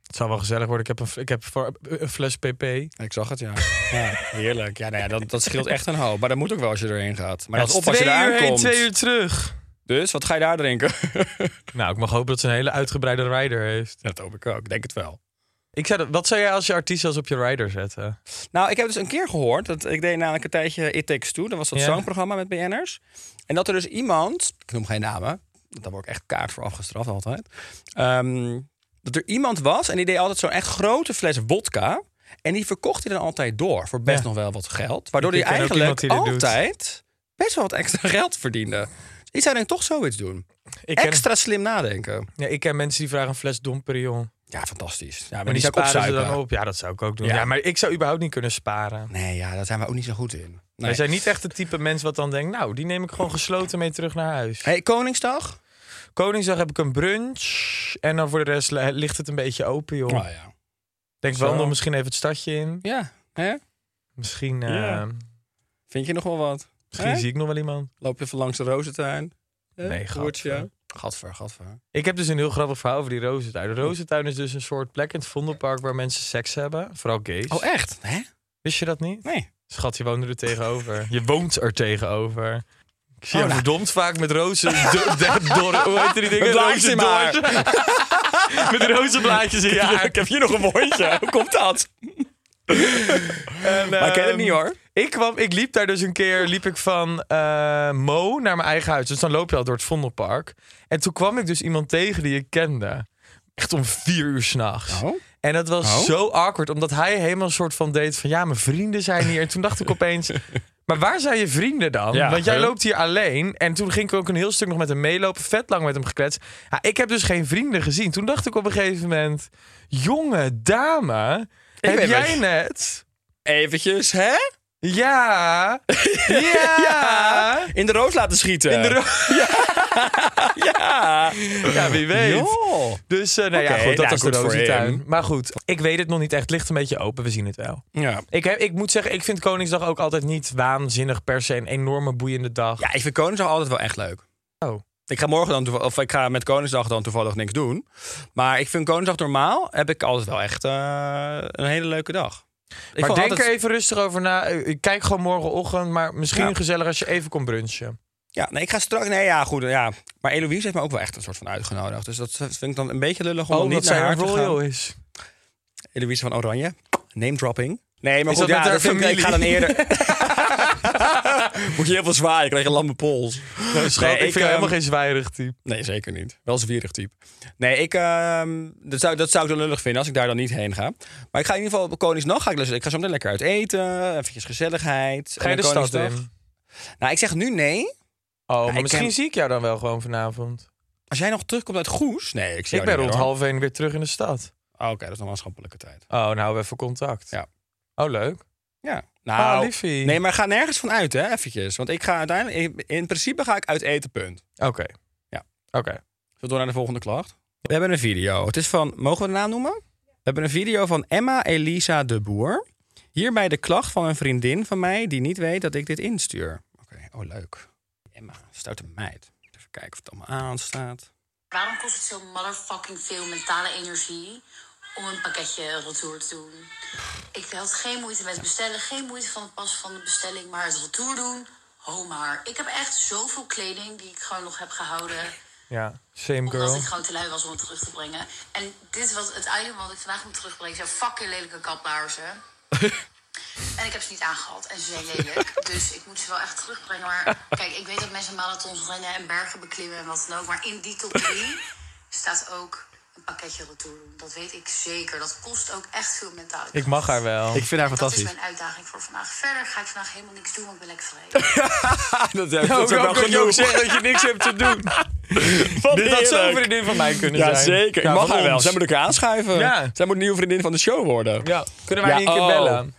S3: Het zal wel gezellig worden. Ik heb, een, f- ik heb voor, een fles PP.
S4: Ik zag het, ja. ja heerlijk. Ja, nou ja, dat, dat scheelt echt een hoop. Maar dat moet ook wel als je erheen gaat. Maar
S3: Ja,
S4: dat
S3: het is
S4: is op als je
S3: twee
S4: daar
S3: uur heen,
S4: aankomt.
S3: twee uur terug.
S4: Dus, wat ga je daar drinken? [laughs]
S3: Nou, ik mag hopen dat ze een hele uitgebreide rider heeft.
S4: Dat hoop ik ook. Ik denk het wel.
S3: Ik zei, dat- wat zou jij als je artiest als op je rider zetten?
S4: Nou, ik heb dus een keer gehoord, dat, ik deed namelijk een tijdje It Takes Two, dat was dat
S3: Ja.
S4: zangprogramma met BN'ers. En dat er dus iemand, ik noem geen namen, want daar word ik echt kaart voor afgestraft altijd. Ehm, dat er iemand was en die deed altijd zo'n echt grote fles wodka. En die verkocht hij dan altijd door voor best
S3: Ja.
S4: nog wel wat geld. Waardoor
S3: Ik
S4: hij
S3: ken ook
S4: eigenlijk
S3: iemand die dit doet.
S4: altijd best wel wat extra [laughs] geld verdiende. Ik zou denk ik toch zoiets doen.
S3: Ik ken,
S4: Extra slim nadenken.
S3: ja, ik ken mensen die vragen een fles Dom Perignon.
S4: Ja, fantastisch. Ja,
S3: Maar die sparen ze dan op. Ja, dat zou ik ook doen.
S4: Ja.
S3: ja maar ik zou überhaupt niet kunnen sparen.
S4: Nee, ja, daar zijn we ook niet zo goed in. Nee.
S3: Wij zijn niet echt het type mens wat dan denkt, nou, die neem ik gewoon gesloten mee terug naar huis.
S4: Hey, Koningsdag?
S3: Koningsdag heb ik een brunch en dan voor de rest li- ligt het een beetje open, joh.
S4: Oh ja.
S3: Denk wel
S4: Zo.
S3: nog misschien even het stadje in.
S4: Ja, hè?
S3: Misschien, eh,
S4: Ja. Vind je nog wel wat?
S3: misschien
S4: Hè?
S3: zie ik nog wel iemand.
S4: Loop je even langs de rozentuin? Hè?
S3: Nee,
S4: Roertje.
S3: gat.
S4: Gadver, gadver.
S3: Ik heb dus een heel grappig verhaal over die rozentuin.
S4: Hm.
S3: De rozentuin is dus een soort plek in het Vondelpark waar mensen seks hebben. Vooral gays.
S4: Oh, echt? Hè?
S3: Wist je dat niet?
S4: Nee.
S3: Schat, je woonde er tegenover. Je woont er tegenover. Ik zie
S4: Oh,
S3: jou
S4: nou.
S3: verdomd vaak met rozen... [laughs] do- de- door, hoe heet die dingen?
S4: Een blaadje in mijn
S3: Rozendoorn. [laughs] met rozenblaadjes in je haar.
S4: ik heb hier nog een [laughs] wondje. Hoe komt dat?
S3: En,
S4: Maar ik ken
S3: ehm,
S4: het niet, hoor.
S3: Ik, kwam, ik liep daar dus een keer liep ik van eh, Mo naar mijn eigen huis. Dus dan loop je al door het Vondelpark. En toen kwam ik dus iemand tegen die ik kende. Echt om vier uur s'nachts.
S4: Oh.
S3: En dat was
S4: Oh.
S3: zo awkward, omdat hij helemaal een soort van deed van... ja, mijn vrienden zijn hier. En toen dacht ik
S4: [laughs]
S3: opeens... Maar waar zijn je vrienden dan?
S4: Ja,
S3: Want jij
S4: hè?
S3: loopt hier alleen. En toen ging ik ook een heel stuk nog met hem meelopen. Vet lang met hem gekletst. Ja, ik heb dus geen vrienden gezien. Toen dacht ik op een gegeven moment... jonge dame, heb
S4: weet
S3: jij
S4: wat-
S3: net...
S4: Eventjes, hè?
S3: Ja. [laughs] Ja. ja.
S4: In de roos laten schieten.
S3: In de
S4: [laughs]
S3: ro-
S4: Ja.
S3: wie weet.
S4: Joh.
S3: Dus eh, nou
S4: Oké,
S3: ja, goed, dat
S4: nou,
S3: was
S4: goed
S3: de
S4: voor
S3: rozentuin.
S4: hem.
S3: Maar goed, ik weet het nog niet echt. Het ligt een beetje open. We zien het wel.
S4: Ja.
S3: Ik, heb, ik moet zeggen, ik vind Koningsdag ook altijd niet waanzinnig per se. Een enorme boeiende dag.
S4: Ja, ik vind Koningsdag altijd wel echt leuk.
S3: Oh.
S4: Ik ga morgen dan toeval- of ik ga met Koningsdag dan toevallig niks doen. Maar ik vind Koningsdag normaal heb ik altijd wel echt eh, een hele leuke dag. Ik
S3: maar
S4: vond
S3: denk
S4: altijd-
S3: er even rustig over na. Eh, Kijk gewoon morgenochtend. Maar misschien
S4: Ja.
S3: gezellig als je even komt brunchen.
S4: Ja, nee, ik ga straks. Nee, ja, goed. Ja. Maar Eloise heeft me ook wel echt een soort van uitgenodigd. Dus dat vind ik dan een beetje lullig om dan niet
S3: omdat
S4: naar
S3: zij
S4: haar
S3: een
S4: te
S3: royal
S4: gaan.
S3: is.
S4: Eloise van Oranje. Name dropping. Nee, maar
S3: Is
S4: goed,
S3: dat
S4: ja,
S3: met
S4: dat
S3: haar
S4: vind ik, ik ga dan
S3: familie?
S4: eerder.
S3: [laughs]
S4: Moet je heel veel zwaaien, ik krijg een lamme pols.
S3: Schat, ik, eh, vind jou
S4: ehm,
S3: helemaal geen zwaaierig type.
S4: Nee, zeker niet. Wel zwierig type. Nee, ik, ehm, dat, zou, dat zou ik dan lullig vinden als ik daar dan niet heen ga. Maar ik ga in ieder geval op Koningsnacht. Ga ik, dus, ik ga zo meteen lekker uit eten. Eventjes gezelligheid.
S3: Ga je
S4: En
S3: de
S4: dan
S3: stad
S4: Koningsdag-
S3: in?
S4: Nou, ik zeg nu nee.
S3: Oh, maar
S4: ik
S3: misschien
S4: ken-
S3: zie ik jou dan wel gewoon vanavond.
S4: Als jij nog terugkomt uit Goes. Nee, ik zie
S3: Ik ben
S4: jou
S3: rond
S4: niet meer, hoor.
S3: half één weer terug in de stad.
S4: Oh, Oké, dat is nog maatschappelijke tijd.
S3: Oh, nou, we even contact.
S4: Ja.
S3: Oh, leuk.
S4: Ja.
S3: Ah,
S4: Nou,
S3: liefie.
S4: nee, maar ga nergens van uit, hè, eventjes. Want ik ga uiteindelijk, in principe ga ik uit eten, punt.
S3: Oké.
S4: Ja.
S3: Oké.
S4: Zullen we door naar de volgende klacht? We hebben een video. Het is van, mogen we de naam noemen? We hebben een video van Emma Elisa de Boer. Hierbij de klacht van een vriendin van mij die niet weet dat ik dit instuur. Oké, oh leuk. Emma, stoute meid. Even kijken of het allemaal aanstaat.
S5: Waarom kost het zo motherfucking veel mentale energie om een pakketje retour te doen? Ik had geen moeite met bestellen, geen moeite van het passen van de bestelling, maar het retour doen, ho maar. Ik heb echt zoveel kleding die ik gewoon nog heb gehouden,
S3: Ja. Same
S5: omdat
S3: girl.
S5: ik gewoon te lui was om het terug te brengen. En dit was het item wat ik vandaag moet terugbrengen, zijn fucking lelijke
S3: [laughs]
S5: kaplaarzen. En ik heb ze niet aangehad en ze zijn lelijk. Dus ik moet ze wel echt terugbrengen. Maar kijk, ik weet dat mensen marathons rennen en bergen beklimmen en wat dan ook. Maar in die top 3 staat ook een pakketje retour. doen. Dat weet ik zeker. Dat kost ook echt veel mentale
S3: Ik mag haar wel.
S4: Ik vind haar
S5: Dat is
S4: fantastisch.
S5: mijn uitdaging voor vandaag. Verder ga ik vandaag helemaal niks doen, want ik ben lekker vrij.
S3: [laughs]
S4: dat
S3: [laughs] ook wel kun je ook zeggen
S4: dat je niks hebt [laughs] te doen.
S3: Dit had zo'n vriendin van mij kunnen
S4: Ja,
S3: zijn.
S4: zeker.
S3: Ja,
S4: ik mag
S3: van
S4: haar wel.
S3: ons.
S4: Zij moet elkaar aanschuiven.
S3: Ja.
S4: Zij moet nieuwe vriendin van de show worden.
S3: Ja. Kunnen wij
S4: Ja,
S3: niet een keer
S4: oh.
S3: bellen?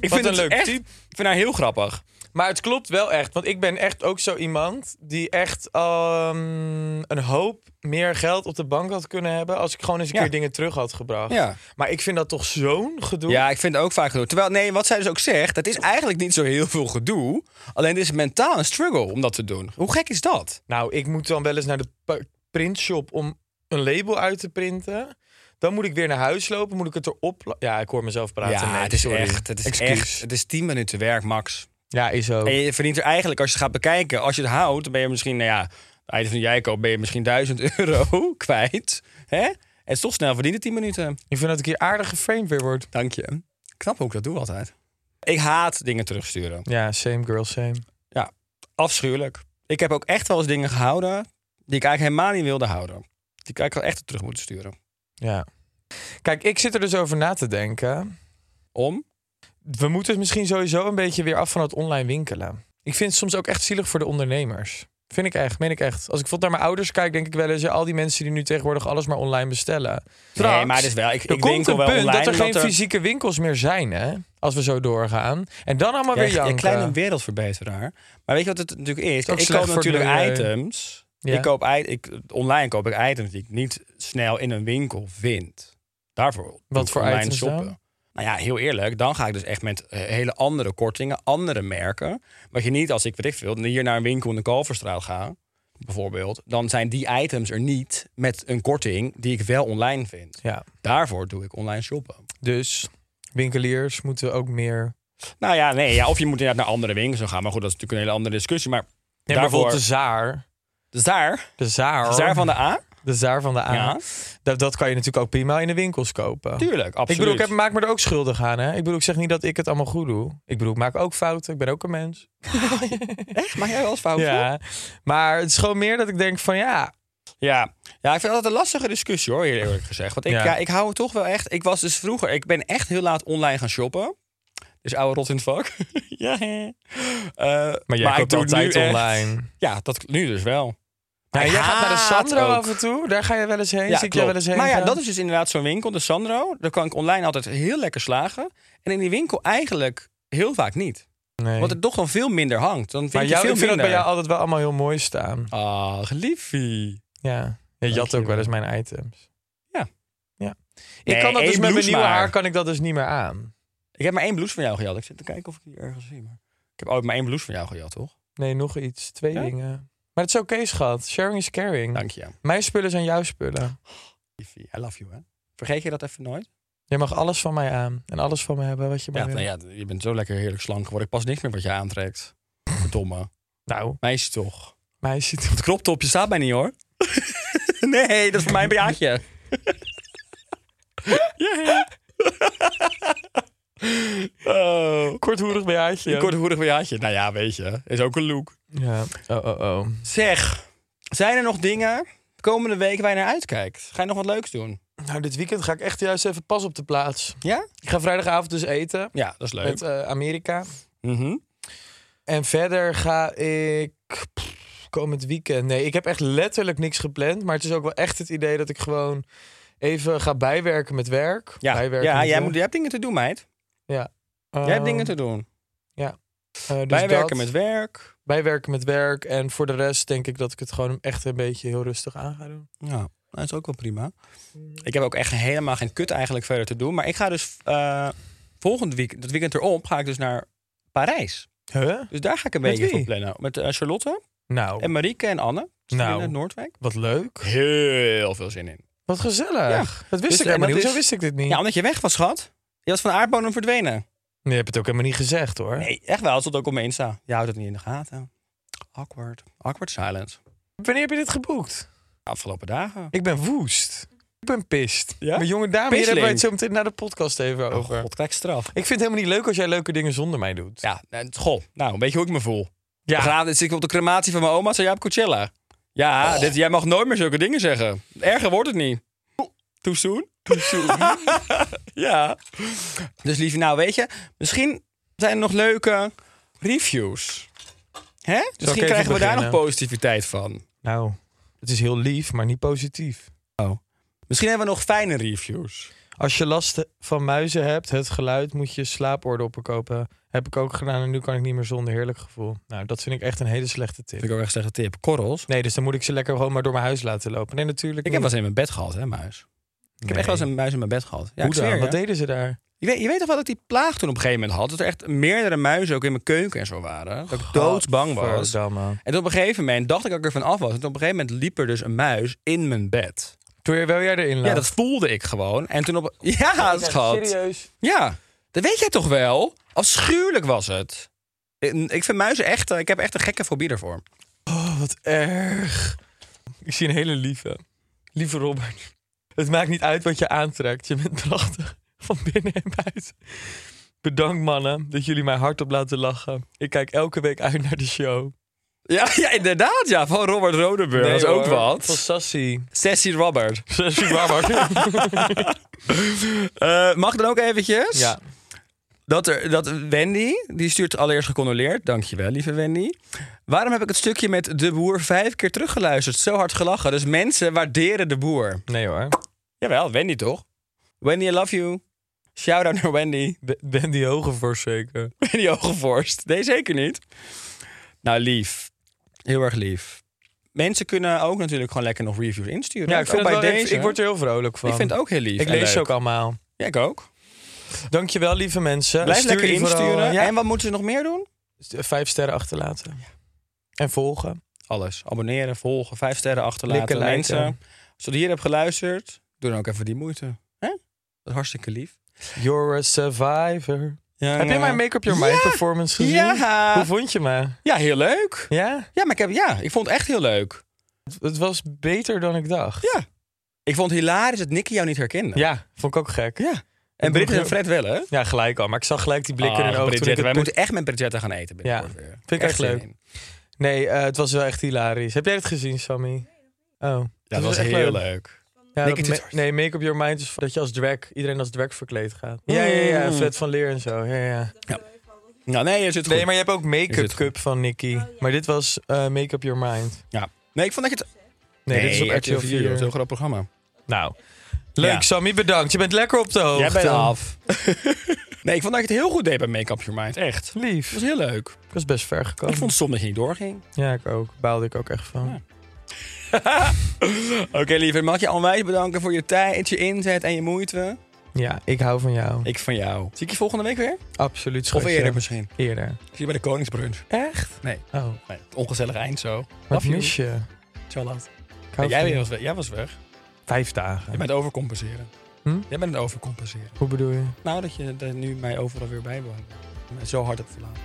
S4: Ik
S3: Wat
S4: vind
S3: een
S4: het
S3: leuk
S4: echt,
S3: type.
S4: Ik vind haar heel grappig.
S3: Maar het klopt wel echt. Want ik ben echt ook zo iemand die echt ehm, een hoop meer geld op de bank had kunnen hebben. Als ik gewoon eens een
S4: Ja.
S3: keer dingen terug had gebracht.
S4: Ja.
S3: Maar ik vind dat toch zo'n gedoe.
S4: Ja, ik vind het ook vaak gedoe. Terwijl, nee, wat zij dus ook zegt, dat is eigenlijk niet zo heel veel gedoe. Alleen het is mentaal een struggle om dat te doen. Hoe gek is dat?
S3: Nou, ik moet dan wel eens naar de pa- printshop om een label uit te printen. Dan moet ik weer naar huis lopen, moet ik het erop... la- Ja, ik hoor mezelf praten.
S4: ja,
S3: nee,
S4: het is
S3: sorry.
S4: echt. Het is
S3: Excuus. Oh.
S4: echt. Het is 10 minuten werk, max.
S3: Ja, is ook.
S4: En je verdient er eigenlijk, als je het gaat bekijken, als je het houdt, dan ben je misschien, nou ja, de item van jij koopt, ben je misschien 1000 [laughs] euro kwijt. Hè? En het is toch snel verdienen, 10 minuten.
S3: Ik vind dat ik hier aardig geframed weer word.
S4: Dank je. Knap hoe ik dat doe altijd. Ik haat dingen terugsturen.
S3: Ja, same girl, same.
S4: Ja, afschuwelijk. Ik heb ook echt wel eens dingen gehouden die ik eigenlijk helemaal niet wilde houden. Die ik eigenlijk wel echt terug moeten sturen.
S3: Ja. Kijk, ik zit er dus over na te denken.
S4: Om?
S3: We moeten misschien sowieso een beetje weer af van het online winkelen. Ik vind het soms ook echt zielig voor de ondernemers. Vind ik echt, meen ik echt. Als ik bijvoorbeeld naar mijn ouders kijk, denk ik wel eens... ja, al die mensen die nu tegenwoordig alles maar online bestellen. Straks,
S4: maar het is wel- ik-
S3: er
S4: ik
S3: komt
S4: winkel
S3: een
S4: wel
S3: punt dat
S4: online,
S3: er geen
S4: dat er-
S3: fysieke winkels meer zijn, hè? Als we zo doorgaan. En dan allemaal weer
S4: Ja,
S3: janken.
S4: een kleine wereldverbeteraar. Maar weet je wat het natuurlijk is?
S3: Ook
S4: Ik
S3: slecht
S4: koop
S3: voor het
S4: natuurlijk
S3: milieu.
S4: items.
S3: Ja.
S4: Ik koop i- ik, online koop ik items die ik niet snel in een winkel vind. Daarvoor doe ik
S3: voor
S4: online
S3: items dan?
S4: shoppen. Nou ja, heel eerlijk, dan ga ik dus echt met eh, hele andere kortingen, andere merken. Wat je niet als ik, weet ik veel, hier naar een winkel in de Kalverstraat ga. bijvoorbeeld, dan zijn die items er niet met een korting die ik wel online vind.
S3: Ja.
S4: Daarvoor doe ik online shoppen.
S3: Dus winkeliers moeten ook meer...
S4: Nou ja, nee, ja, of je moet inderdaad naar andere winkels gaan. Maar goed, dat is natuurlijk een hele andere discussie. Maar
S3: Nee, maar
S4: daarvoor,
S3: bijvoorbeeld de zaar.
S4: dus daar,
S3: De zaar.
S4: dus daar van de A,
S3: De zaar van de A.
S4: Ja.
S3: Dat, dat kan je natuurlijk ook prima in de winkels kopen.
S4: tuurlijk,
S3: Ik
S4: absoluut.
S3: bedoel, ik heb, maak me er ook schuldig aan. Hè? Ik bedoel, ik zeg niet dat ik het allemaal goed doe. Ik bedoel, ik maak ook fouten. Ik ben ook een mens.
S4: Echt? Maak jij wel eens fouten?
S3: Ja. Maar het is gewoon meer dat ik denk van ja,
S4: Ja. ja, ik vind dat een lastige discussie hoor, heel eerlijk gezegd. Want ik,
S3: Ja.
S4: ja. ik hou het toch wel echt. Ik was dus vroeger, ik ben echt heel laat online gaan shoppen. Dus oude rot in het vak. [laughs] ja, hè. Eh,
S3: maar jij
S4: ik
S3: koopt
S4: doe
S3: altijd
S4: nu echt-
S3: online.
S4: Ja, dat nu dus wel.
S3: Ja, Nou,
S4: ik
S3: jij gaat naar de
S4: haat
S3: Sandro
S4: ook.
S3: af en toe. Daar ga je wel eens heen. Zie ik
S4: klopt.
S3: jou wel eens heen.
S4: Maar Ah, ja,
S3: gaan?
S4: dat is dus inderdaad zo'n winkel, de Sandro. Daar kan ik online altijd heel lekker slagen. En in die winkel eigenlijk heel vaak niet.
S3: Nee.
S4: Want het toch wel veel minder hangt. Dan vind
S3: maar
S4: je
S3: jou,
S4: veel
S3: ik vind dat
S4: minder.
S3: bij jou altijd wel allemaal heel mooi staan.
S4: Ach, liefie.
S3: Ja. Je jat ook
S4: Dankjewel.
S3: wel eens mijn items.
S4: Ja.
S3: ja. ik
S4: Nee,
S3: kan dat dus met mijn
S4: één blouse
S3: nieuwe
S4: maar.
S3: haar kan ik dat dus niet meer aan.
S4: Ik heb maar één blouse van jou gejat. Ik zit te kijken of ik die ergens zie. Maar... Ik heb ooit maar één blouse van jou gejat, toch?
S3: Nee, nog iets. Twee
S4: Ja? Nou.
S3: dingen. Maar het is oké, schat. Sharing is caring.
S4: Dank je.
S3: Mijn spullen zijn jouw spullen.
S4: Liefie, I love you, hè? Vergeet je dat even nooit?
S3: Je mag alles van mij aan. En alles van me hebben wat je maar
S4: Ja,
S3: wil.
S4: nou ja, je bent zo lekker heerlijk slank geworden. Ik pas niks meer wat je aantrekt. Verdomme.
S3: Nou,
S4: Meisje toch.
S3: meisje.
S4: Het kroptopje staat mij niet, hoor. [laughs] nee, dat is voor mijn bejaardje. [laughs] oh.
S3: Korthoerig BH'tje.
S4: Een korthoerig bejaardje. Nou ja, weet je. Is ook een look.
S3: Ja. Oh, oh, oh.
S4: Zeg, zijn er nog dingen komende week waar je naar uitkijkt? Ga je nog wat leuks doen?
S3: Nou, dit weekend ga ik echt juist even pas op de plaats.
S4: Ja?
S3: Ik ga vrijdagavond dus eten.
S4: Ja, dat is leuk.
S3: Met eh, Amerika.
S4: Mhm.
S3: En verder ga ik pff, komend weekend. Nee, ik heb echt letterlijk niks gepland. Maar het is ook wel echt het idee dat ik gewoon even ga bijwerken met werk.
S4: Ja,
S3: Bijwerken
S4: ja
S3: met
S4: jij,
S3: werk.
S4: moet, jij hebt dingen te doen, meid.
S3: Ja.
S4: Jij hebt dingen te doen.
S3: Eh, dus
S4: Bijwerken
S3: dat,
S4: met werk.
S3: bijwerken met werk. En voor de rest denk ik dat ik het gewoon echt een beetje heel rustig aan ga doen.
S4: Ja, dat is ook wel prima. Ik heb ook echt helemaal geen kut eigenlijk verder te doen. Maar ik ga dus eh, volgend weekend, dat weekend erop, ga ik dus naar Parijs.
S3: Huh?
S4: Dus daar ga ik een
S3: Met
S4: beetje
S3: wie?
S4: voor plannen. Met eh, Charlotte
S3: Nou,
S4: en Marieke en Anne. Dus
S3: Nou.
S4: nou. in Noordwijk.
S3: wat leuk.
S4: Heel veel zin in.
S3: Wat gezellig.
S4: Ja.
S3: Dat wist
S4: Dus,
S3: ik
S4: eh,
S3: helemaal niet.
S4: dat
S3: Hoezo
S4: is-
S3: wist ik dit niet?
S4: Ja, omdat je weg was, schat. Je was van de aardbodem verdwenen.
S3: Nee, je hebt het ook helemaal niet gezegd hoor.
S4: Nee, echt wel. Het stond ook op mijn Insta. Je houdt het niet in de gaten. Awkward. Awkward silence.
S3: Wanneer heb je dit geboekt?
S4: Afgelopen dagen.
S3: Ik ben woest. Ik ben pist.
S4: Ja?
S3: Mijn jonge dame, hier
S4: Pisling.
S3: hebben we het zo meteen naar de podcast even
S4: Oh
S3: over.
S4: god, kijk straf.
S3: Ik vind het helemaal niet leuk als jij leuke dingen zonder mij doet.
S4: Ja, en, goh. Nou, weet je hoe ik me voel?
S3: Ja.
S4: Ja. Vanavond zit ik op de crematie van mijn oma, zei jij op Coachella. Ja, dit, jij mag nooit meer zulke dingen zeggen. Erger wordt het niet. Too soon? [laughs] ja. Dus lieve, nou weet je, misschien zijn er nog leuke reviews. Hè?
S3: even
S4: Misschien krijgen we daar nog
S3: beginnen?
S4: positiviteit van.
S3: Nou, het is heel lief, maar niet positief.
S4: Misschien hebben we nog fijne reviews.
S3: Als je last van muizen hebt, het geluid, moet je slaapoordoppen kopen. Heb ik ook gedaan en nu kan ik niet meer zonder heerlijk gevoel. Nou, dat vind ik echt een hele slechte
S4: Vind ik
S3: tip.
S4: ook echt een slechte tip. Korrels.
S3: Nee, dus dan moet ik ze lekker gewoon maar door mijn huis laten lopen. Nee, natuurlijk
S4: Ik
S3: niet.
S4: heb wel eens in mijn bed gehad, hè, muis. Ik heb echt wel eens een muis in mijn bed gehad. Ja,
S3: Hoe
S4: ik zweer
S3: dan?
S4: je.
S3: Wat deden ze daar?
S4: je, weet, je weet toch wel dat ik die plaag toen op een gegeven moment had? Dat er echt meerdere muizen ook in mijn keuken en zo waren. Dat ik doodsbang was.
S3: Godverdamme.
S4: En op een gegeven moment dacht ik dat ik er van af was. En op een gegeven moment liep er dus een muis in mijn bed.
S3: Toen je wel jij erin laat.
S4: Ja, dat voelde ik gewoon. En toen op... [laughs] Ja, schat.
S3: Serieus?
S4: Ja, dat weet jij toch wel? Afschuwelijk was het. Ik ik vind muizen echt... eh, Ik heb echt een gekke fobie ervoor.
S3: Oh, wat erg. Ik zie een hele lieve. Lieve Robert. Het maakt niet uit wat je aantrekt. Je bent prachtig. Van binnen en buiten. Bedankt mannen dat jullie mij hardop laten lachen. Ik kijk elke week uit naar de show.
S4: [laughs] Ja, ja inderdaad. Ja, van Robert Rodenburg. dat is ook
S3: hoor, Van
S4: wat.
S3: Sassy.
S4: Sessie Robert.
S3: Sassy Robert.
S4: Eh, mag dan ook eventjes?
S3: [laughs] ja.
S4: Dat, er, dat Wendy, die stuurt allereerst gecondoleerd. Dankjewel, lieve Wendy. Waarom heb ik het stukje met de boer vijf keer teruggeluisterd? Zo hard gelachen. Dus mensen waarderen de boer.
S3: Nee hoor.
S4: Jawel, Wendy toch? Wendy, I love you. Shout-out naar Wendy.
S3: Ben- Ben die Hogevorst zeker.
S4: [laughs] Wendy Hogevorst. Nee, zeker niet. Nou, lief. Heel erg lief. Mensen kunnen ook natuurlijk gewoon lekker nog reviews insturen.
S3: Ja, ik,
S4: Ook
S3: vind het
S4: bij
S3: wel- ik-
S4: deze.
S3: ik word er heel vrolijk van.
S4: Ik vind het ook heel lief.
S3: Ik
S4: en
S3: lees ze
S4: leuk.
S3: ook allemaal.
S4: Ja, ik ook.
S3: Dankjewel lieve mensen.
S4: Blijf
S3: Stuur
S4: lekker
S3: je vooral,
S4: insturen.
S3: ja,
S4: En wat moeten ze nog meer doen?
S3: vijf sterren achterlaten. En volgen.
S4: Alles. Abonneren, volgen, vijf sterren achterlaten.
S3: Likken, liken.
S4: Mensen, als je hier hebt geluisterd, doe dan ook even die moeite. Hè? Dat is hartstikke lief.
S3: You're a survivor.
S4: Ja,
S3: Heb je
S4: nou.
S3: mijn Make Up Your Mind
S4: Ja.
S3: performance gezien?
S4: Ja.
S3: Hoe vond je me?
S4: Ja, heel leuk.
S3: Ja?
S4: Ja, maar ik, heb, ja, ik vond het echt heel leuk.
S3: Het- Het was beter dan ik dacht.
S4: Ja. Ik vond het hilarisch dat Nicky jou niet herkende.
S3: Ja, vond ik ook gek.
S4: Ja. En Britt en Fred wel, hè?
S3: Ja, gelijk al. Maar ik zag gelijk die blikken in
S4: Ah,
S3: hun ogen. toen ik
S4: Bridgette. Wij
S3: het
S4: moeten echt met Bridgette gaan eten. binnenkort
S3: Ja.
S4: weer.
S3: Vind ik echt
S4: zin
S3: leuk.
S4: in.
S3: punt- Nee, eh, het was wel echt hilarisch. Heb jij het gezien, Sammy? Oh.
S4: Ja, dat was
S3: echt
S4: heel leuk.
S3: Ja,
S4: Nick,
S3: dat
S4: het is-
S3: ma- nee, Make Up Your Mind is dat je als drag, iedereen als drag verkleed gaat. Ja, ja, ja.
S4: Mm.
S3: Fred van Leer en zo. Ja, ja.
S4: Nou, nee, je zit goed.
S3: Nee, maar je hebt ook
S4: Is het
S3: Make-up
S4: goed?
S3: Cup van Nicky. Maar dit was eh, Make Up Your Mind.
S4: ja. nee, ik vond dat je het...
S3: Nee, dit is op RTL 4.
S4: Dat is een heel groot programma.
S3: Nou, leuk
S4: Ja.
S3: Sammy, bedankt. Je bent lekker op de hoogte.
S4: Jij bent af. [laughs] nee, ik vond dat je het heel goed deed bij Make Up Your Mind. Echt. Dat
S3: Lief.
S4: was heel leuk.
S3: Ik was best ver gekomen.
S4: Ik vond het stom dat je niet doorging.
S3: Ja, ik ook. Baalde ik ook echt van.
S4: [laughs] Oké, lieve, mag ik je onwijs bedanken voor je tijd, je inzet en je moeite.
S3: Ja, ik hou van jou.
S4: Ik van jou. Zie ik je volgende week weer?
S3: Absoluut
S4: Of
S3: schatje.
S4: eerder misschien.
S3: Eerder.
S4: Ik zie je bij de Koningsbrunch.
S3: Echt?
S4: Nee,
S3: Oh,
S4: nee ongezellig eind zo.
S3: wat
S4: Love you.
S3: mis je?
S4: Zo laat.
S3: Ik hou van
S4: Jij
S3: je.
S4: was weg. Jij was weg.
S3: Vijf
S4: Je
S3: dagen.
S4: bent overcompenseren.
S3: Hm?
S4: Jij bent het overcompenseren.
S3: Hoe bedoel je?
S4: Nou, dat je er nu mij overal weer bij bent. Mij Zo hard hebt [laughs] verlaten.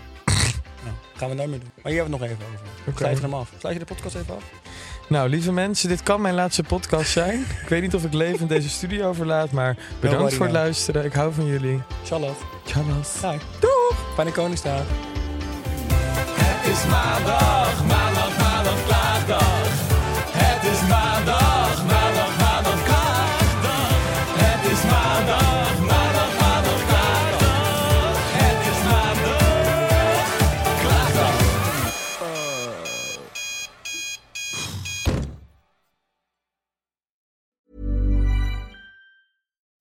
S4: nou, gaan we nooit meer doen. Maar hier hebben we het nog even over.
S3: Oké.
S4: Sluit je hem af. Sluit je de podcast even af?
S3: Nou, lieve mensen, dit kan mijn laatste podcast zijn. ik weet niet of ik levend deze studio verlaat, maar
S4: worry,
S3: bedankt voor het
S4: man.
S3: luisteren. Ik hou van jullie.
S4: Charlotte.
S3: Tjallas.
S4: Hi. Doeg. Fijne Koningsdag.
S2: Het is maandag, maandag, maandag, klaagdag. Het is maandag, maandag, maandag, klaagdag. Het is maandag, maandag, maandag, klaagdag. Het is maandag, klaagdag.